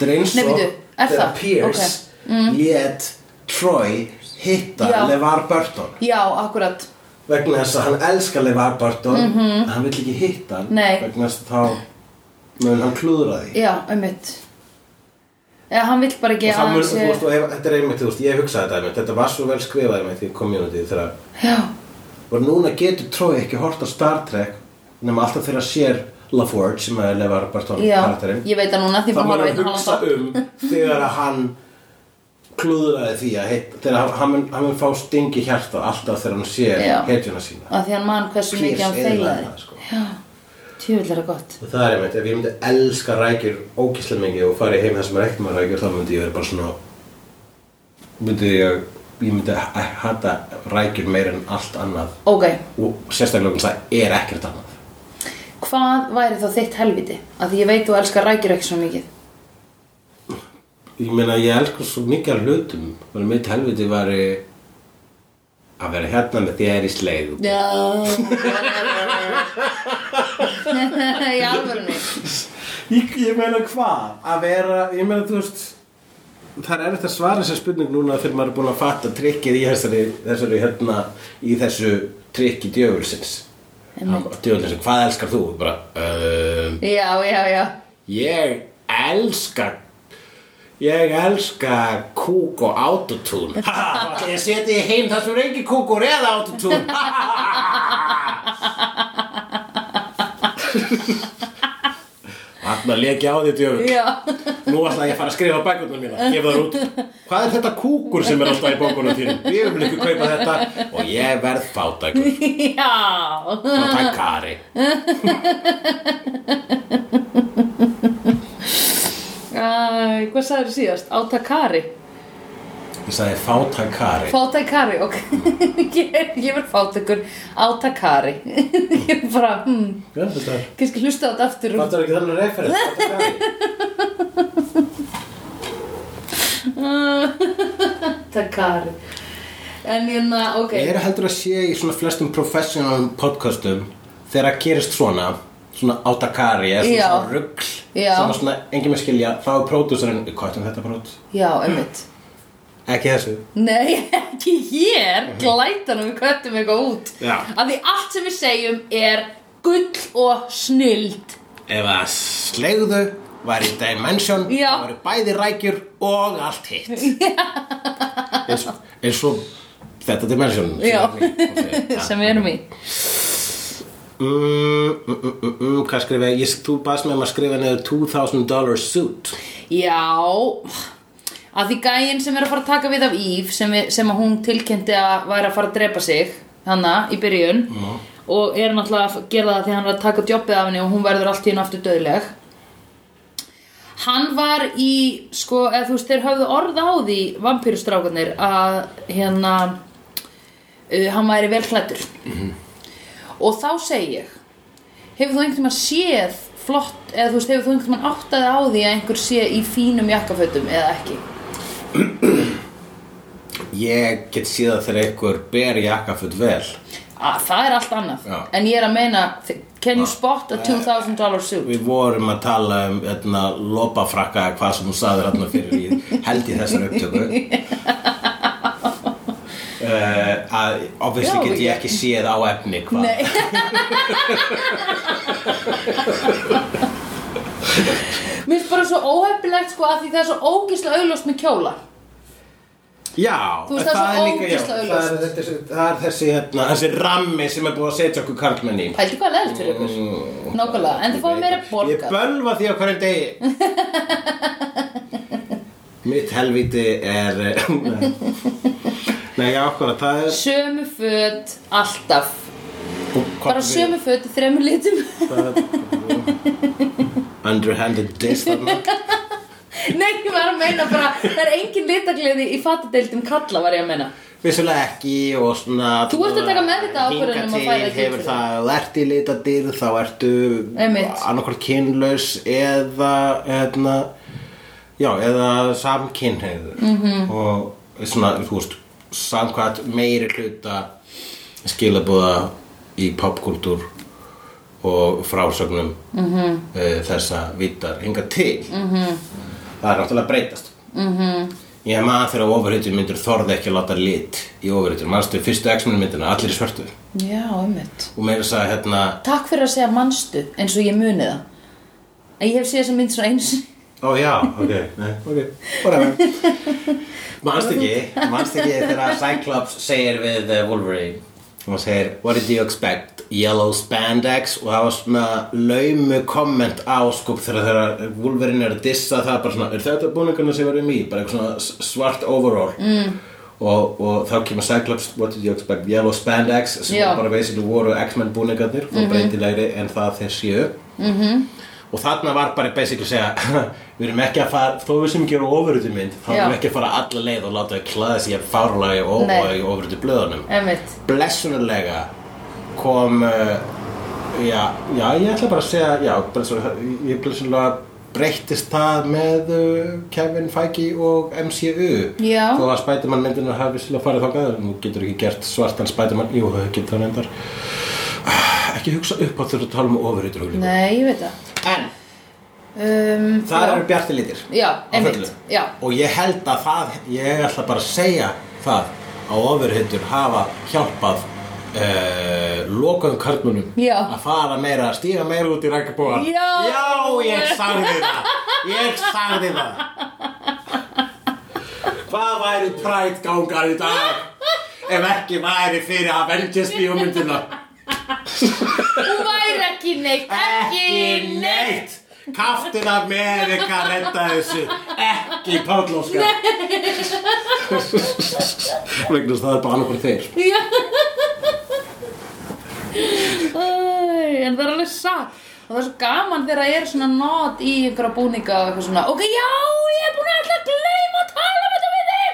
Þetta er eins Nei, og bíddu, er þegar það? Mm. Pierce lét Troy hitta Já. LeVar Burton Já, akkurat vegna þess að hann elskar LeVar Burton en hann vill ekki hitta hann Mhm. Nei. vegna þess að þá mun hann klúðra því. Já, einmitt eða hann vill bara ekki og það að mun, hann þú veist, og ef, þetta er einmitt, þú veist, ég hugsaði þetta einmitt, þetta var svo vel skrifað einmitt í community þegar, já, og núna getur tróið ekki hort á Star Trek nema alltaf þegar sér LaForge sem að lefa Bartónu já, karakterinn ég veit það núna því þá bara mun horfa hann einn hugsa halvan um þegar að hann klúðraði því að heit, þegar hann, hann, mun- hann mun fá stingi hjarta alltaf þegar hann sér Já. hetjuna sína að því hann man hversu mikið hann eyðilagði feilaði það, sko. já, tjöfull er það gott og það er einmitt, ef ég myndi elska rækjur ókíslega mikið og fari heim það sem er ekkert maður rækjur þá myndi ég vera bara svona myndi ég ég myndi h- hata rækjur meir en allt annað ok, og sérstaklega um það er ekkert annað hvað væri þá þitt helviti að því ég veit þú elskar rækjur ekki svo mikið ég meina ég elskar svo mikið af hlutum og mitt helviti var að vera hérna með þér í sleið já í alvörunni ég, ég meina hvað? Að vera, ég meina þú veist Það er eftir að svara þessar spurning núna þegar maður er búin að fatta trikkið í þessari, þessari hérna, í þessu trikki djöfulsins Djöfulsins, hvað elskar þú? Bara, um, já, já, já ég elska ég elska kúk og autotune Ha, ha, ha, ég seti ég heim þar sem er ekki kúkur eða autotune Ha, ha, ha, ha, ha. Þarna leki á því djöfull Já, Nú ætla ég að fara að skrifa bækurnar mína, gefa þar út. Hvað er þetta kúkur sem er alltaf í bókunum þínum? Við viljum ekki kaupa þetta og ég verð fátækur. já. Og takk Kari. Æ, hvað sagður síðast? Átakari? Ég sagði fátæk Kari. Fátakari, ok. ég, ég verð fátakur átakari. ég er bara, hmm, Já, þetta er... kannski hlusta á þetta aftur. og- Fattar ekki þannig referens, fátæk Kari. Átakari. En hérna, ok. Ég er heldur að sé í svona flestum professional podcastum þegar að gerist svona, svona átakari eða svona, Já. svona ruggl Já. sem að svona engin með skilja, þá er pródúsarinn, hvað er þetta pródús? Já, einmitt. Ekki þessu. Nei, ekki hér. Glætanum við köttum eitthvað út. Mhm. Já. Af því allt sem við segjum er gull og snild. Ef að slegðu væri Dimension, Já. það væri bæði rækjur og allt hitt. eins, eins og þetta Dimension. sem Já. er í- ok, ja. Sem við erum í. Mm, mm, mm, mm, mm, hvað skrifa ég? Ég- Þú baðst með um að skrifa neður $2,000 suit. Já að því gæinn sem er að fara að taka við af Íf sem, við, sem að hún tilkynnti að væri að fara að drepa sig hana í byrjun og er náttúrulega að gera það því að hann er að taka jobbið af henni og hún verður allt í hennu aftur döðleg hann var í sko, eða þú veist, þeir höfðu orð á því vampýrustrákarnir að hérna uh, hann væri vel klættur og þá segi ég hefur þú einhvern veginn séð flott, eða þú veist, hefur þú einhvern veginn áttaði á því að einhver sé í fínum jakkafötum eða ekki Ég get síða þegar einhver ber jakkafutt vel. að, það er allt annað, Já. Eh, en ég er að meina can you spot a $2,000 suit Við vorum að tala um etna, lopafrakka eða hvað sem hún saði hérna fyrir í held í þessar upptöku uh, að obviously Já, get ég- ég ekki séð á efni hvað Nei. mér finnst bara svo óhefnilegt sko að því það er svo ógislega auðljóst með kjóla Já, Þú veist, það er svo já, ógeðslega það er þessi, það er þessi, hérna, þessi rammi sem er búið að setja okkur karlmenn í pældi hvað leðilt fyrir ykkur mm, nákvæmlega, en þið fáið meira Ég borgað bölva því á hverjum degi Mitt helvíti er eh, Nei, nei já, okkur að það er sömu föt alltaf bara Bara sömu föt í þremur litum Underhanded diss þarna nei, ég var að meina bara það er engin litagliði í fatadeildum kalla var ég að meina Vissulega ekki og svona Þú ert að taka meðvitaða ákvörðun um að færa Hinga þig til hefur fyrir. það, ef þú ert í litadýrð þá ertu Einmitt. annarkvort kynlaus eða eðna, já, eða samkynhneigður -hmm. og svona, þú veist samkvæmt meiri hluta skilabúða í popkultúr og frásögnum mm -hmm. þessa vittar hinga til -hmm. það er náttúrulega að breytast Ég maður þegar ofurhautin myndir þorði ekki að láta lit í ofurhautin. Manstu fyrstu X-Men myndina, allir í svörtu. já, einmitt Og meira þess að hérna, Takk fyrir að segja manstu eins og ég muni það En ég hef séð þess að mynd svona eins Ó já, ok, nei, ok, whatever. Manst ekki, manst ekki þegar Cyclops segir við eh, Wolverine. Hún segir, what did you expect? Yellow spandex og það var svona laumu komment á sko þegar þegar Wolverine er að dissa það bara svona, er þetta búningarna sem varum í? Bara eitthvað svona s- svart overall. Mm. Og, og þá kemur Cyclops, what did you expect? Yellow spandex sem Já. bara basically voru X-Men búningarnir og breytilegri en það þeir séu. Og þarna var bara basically að segja Við erum ekki að fara, þó við sem gera ofurhutu mynd Þá erum Já. við ekki að fara alla leið og láta þau klæða sig að fárlega og Nei. óvæg ofurhutu blöðunum Emmitt Blessunarlega kom uh, já, já, ég ætla bara að segja Já, blessunarlega, ég blessunarlega breyttist það með uh, Kevin Feige og MCU Já. Þó að Spiderman myndinu hafi svolítið farið þangað en Nú getur ekki gert svartan Spiderman Jú, það getur það reyndar Ah, Ekki hugsa upp á þurfa að tala um ofurhutur Nei, ég veit það En um, Það já. eru bjarti litir Já, Á einmitt, fullu. já. Og ég held að það, ég ætla bara að segja það að ofurhittur hafa hjálpað uh, lokaðum karlmunum Já. að fara meira, að stíga meira út í rækjabóðan Já. ég sagði það Ég sagði það Hvað væri Pride gangar í dag ef ekki væri fyrir Avengers bíómyndina Hún væri ekki neitt Ekki neitt Kaftin af með eitthvað að redda þessu Ekki pátlóska Vegna þess að það er bara annað fyrir þeir Já Æ, En það er alveg satt Og það er svo gaman þegar það er svona not í einhverja búninga og eitthvað svona Ok, já, ég er búin að ætla að gleyma að tala um þetta við þig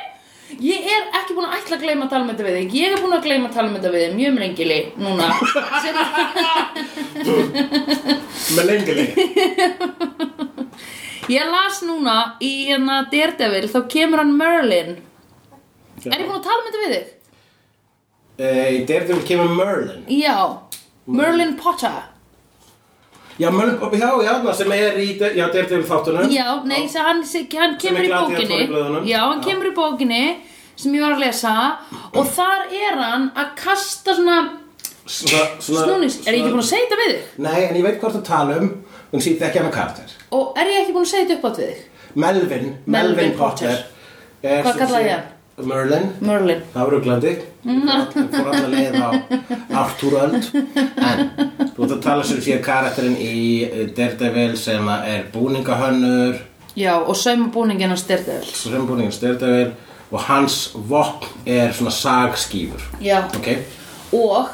Ég er ekki búin að ætla að gleyma að tala um þetta við þig Ég er búin að gleyma að tala um þetta við þig Mjög mrengili núna Sem að Með lengi lengi Ég las núna í hérna Daredevil Þá kemur hann Merlin Er ég búin að tala um þetta við þig? Eh, Í Daredevil kemur Merlin Já, Merlin Potter Já, Merlin, já, já, það sem er í De- já, um Daredevil þáttunum Já, nei, sem hann, sem, hann Sem kemur í er gladiator í bókinni blöðunum. Já, hann Já. kemur í bókinni sem ég var að lesa og þar er hann að kasta svona Svona, snúnings Er ég ekki búin að segja þetta við þig? Nei, en ég veit hvort að tala um Hún sýtti ekki hann að karakter Og er ég ekki búin að segja þetta upp átt við þig? Melvin, Melvin Potter er Hvað sem kallaði sé- ég hann? Merlin Merlin Það var auglandi Mm. fór alltaf leið á Arturöld en þú ert að tala sér fyrir karakterinn í eh, Daredevil sem að er búningahönnur Já, og sauma búningin hans Daredevil sem búningins Daredevil og hans vopn er svona sagskýfur Já ok, Og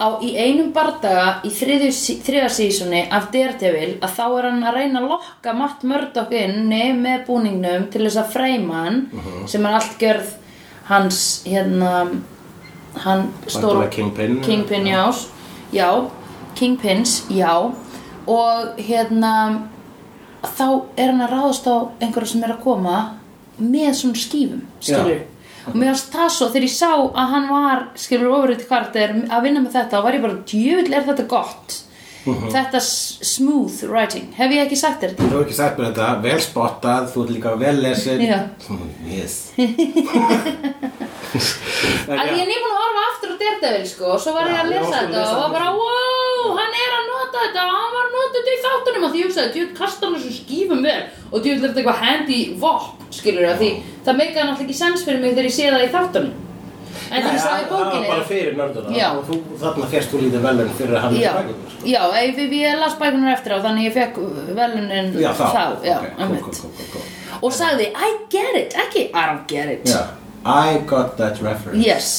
á í einum bardaga í þriðju, sí- þriða sísoni af Daredevil að þá er hann að reyna að lokka Matt Murdock inni með búningnum til þess að freyma hann Mhm. sem er allt gjörð hans hérna hann stór Væntanlega Kingpin. Kingpin já, já Kingpins, já og hérna þá er hann að ráðast á einhverja sem er að koma með svona skífum, skilur Já. og mér varst það svo þegar ég sá að hann var skilur ofurrið karakter að vinna með þetta og var ég bara, djöfull er þetta gott Uh-huh. þetta s- smooth writing hef ég ekki sagt þér þetta? þú hefur ekki sagt mér þetta vel spottað, þú ert líka vel lesin Já. yes að ég er nýbúin að horfa aftur á Daredevil sko og svo var ég Eh, Já, að ég var lesa að þetta lesa og var þetta. bara wow, hann er að nota þetta og hann var að nota þetta í þáttunum og því ég hugsaði, djúð kasta hann þessum skífum vel og djúð er þetta eitthvað handy vopn skilur af því það meikaði náttúrulega ekki sens fyrir mig þegar ég sé það í þáttunum en þegar ég sá í það var bara bókinni fyrir nörduna Já. og þú, þarna férst þú lítið velun fyrir að hann Já, bækirnar, sko. já, ég, ég, ég las bækunar eftir á þannig ég fekk velunin já, þá, já, Ok, einmitt. cool, cool, cool, cool. og sagði I get it, ekki I don't get it Já, I got that reference yes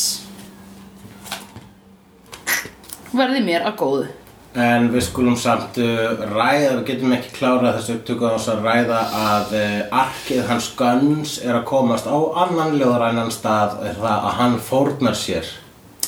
verði mér að góðu En við skulum samt uh, ræða, við getum ekki klárað þessu upptöku á þess að ræða að uh, arkið hans Guns er að komast á annan ljóðrænan stað er það að hann fórnar sér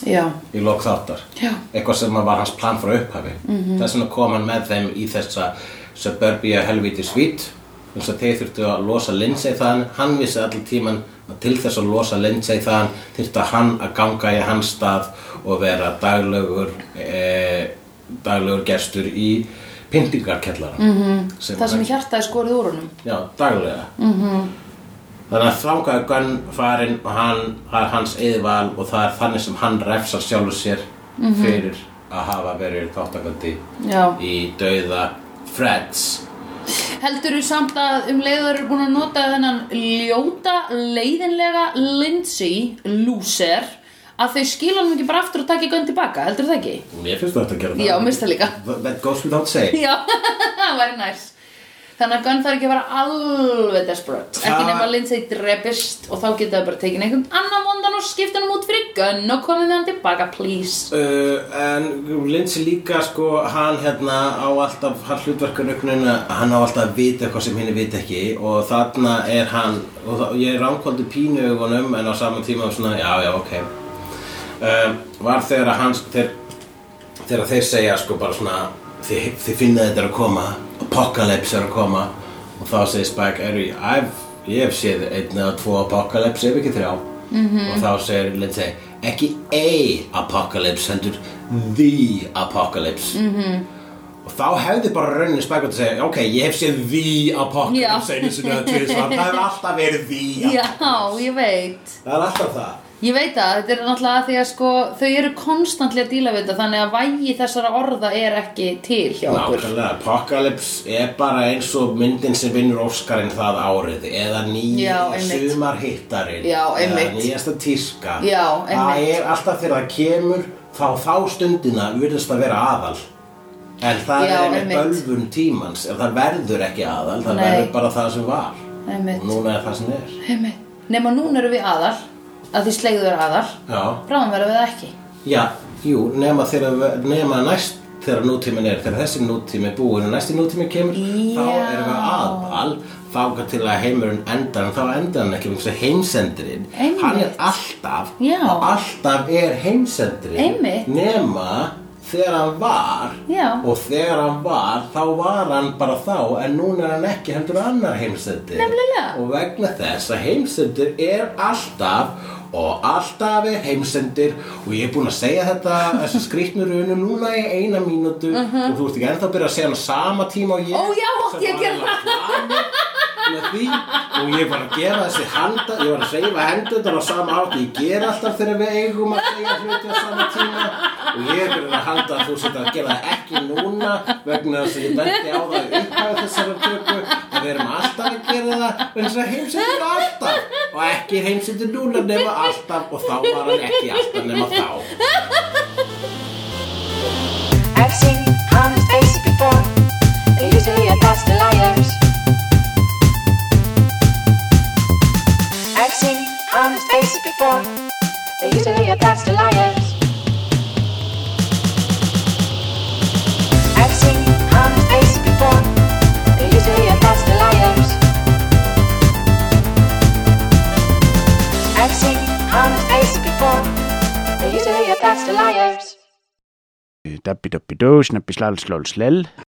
já, í lok þáttar Já. eitthvað sem var hans plan frá upphafi mm -hmm. þess vegna kom hann með þeim í þessa suburbia helvíti svít þess að þeir þurftu að losa Lindsay þaðan hann vissi allir tíman að til þess að losa Lindsay þaðan þurfti að hann að ganga í hans stað og vera daglögur e, daglögur gestur í pyntingarkellara mm -hmm. sem Það sem hann- hjartaði skorið úr honum Já, daglega -hmm. Mhm. Þannig að þákaði Gunn farinn og hann, það er hans yðval og það er þannig sem hann refsar sjálfur sér Mhm. fyrir að hafa verið þáttakandi Já. í dauða Freds heldur þú samt að um leiður eru búin að nota þennan ljóta, leiðinlega Lindsay, loser að þau skila hann ekki bara aftur og taki gönn tilbaka, heldur það ekki? Mér finnst þetta að gera það Já, mér finnst það líka. That- That goes without saying Já, það væri næs Þannig að Gunn þarf ekki að vera alveg desperate Ekki Það- nema að Lindsay drepist og þá geta það bara tekin einhvern annan vondan og skipta hann út fyrir Gunn og komið með hann tilbaka, please Uh, en Lindsay líka sko hann hérna á alltaf hann hlutverkarögnin hann á alltaf að vita eitthvað sem hinn vita ekki og þarna er hann og það, ég ránkvöldi pínu augunum en á saman tíma svona já já ok uh, var þegar að hans þegar, þegar þeir segja sko bara svona þið, þið finnaði þetta er að koma apocalypse er að koma og þá segir Spike er, I've, ég hef séð einn eða tvo apocalypse ef ekki þrjá Mhm. -hmm. og þá segir Lindsay ekki a apocalypse heldur the apocalypse mm -hmm. Mhm. og þá hefði bara rauninni Spike átt að segja ok, ég hef séð the Já. apocalypse einu sinni eða tvisvar það hefur alltaf verið the Já, ég veit það er alltaf það Ég veit það, þetta er náttúrulega því að sko, þau eru konstantli að díla við þetta þannig að vægi þessara orða er ekki til hjá okkur Nákvæmlega, Apocalypse er bara eins og myndin sem vinnur Óskarinn það árið eða nýja Já, einmitt. sumarhittarinn Já, einmitt. eða nýjasta tíska Já, Það einmitt. er alltaf þegar það kemur þá þá stundina virðist að vera aðal en það Já, er einmitt einmitt. bölvun tímans en það verður ekki aðal, það Nei. verður bara það sem var Einmitt. og núna er það sem er Einmitt. Nema núna eru við aðal að því slegðu er aðal Já, Bráðum verðum við það ekki Já jú, nema, þegar, nema næst þegar nútímin er, þegar þessi nútími er búin og næsti nútími kemur, þá Já. erum við aðal þá til að heimurinn endar en þá endar hann ekki vegna þess að heimsendurinn Einmitt. hann er alltaf Já. og alltaf er heimsendurinn Einmitt. nema þegar hann var Já. og þegar hann var þá var hann bara þá en núna er hann ekki heldur annar heimsendir Nefnilega. og vegna þess að heimsendir er alltaf og alltaf er heimsendir og ég er búin að segja þetta þessi skrýtnur unum núna í eina mínútu og þú ert ekki ennþá að byrja að segja hann á sama tíma og ég Ó, já, átti ég að gera það með því og ég var að gera þessi handa ég var að reyfa hendunar á sama átt ég ger alltaf þegar við eigum að segja hluti á sama tíma og ég er verið að halda að þú sétt að gera það ekki núna vegna þess að ég bendi á það upphæðu þessara tökku að við erum alltaf að gera það vegna þess að heimsendur alltaf og ekki heimsendur núna nema alltaf og þá var hann ekki alltaf nema þá I've seen honest faces before. They're usually a pass to liars. I've seen honest faces before. They're usually a pass to liars. I've seen honest faces before. They're usually a pass to liars. I've seen honest faces before. They're usually a pass to liars. Dabbi dabbi dó, snabbi slal slal slel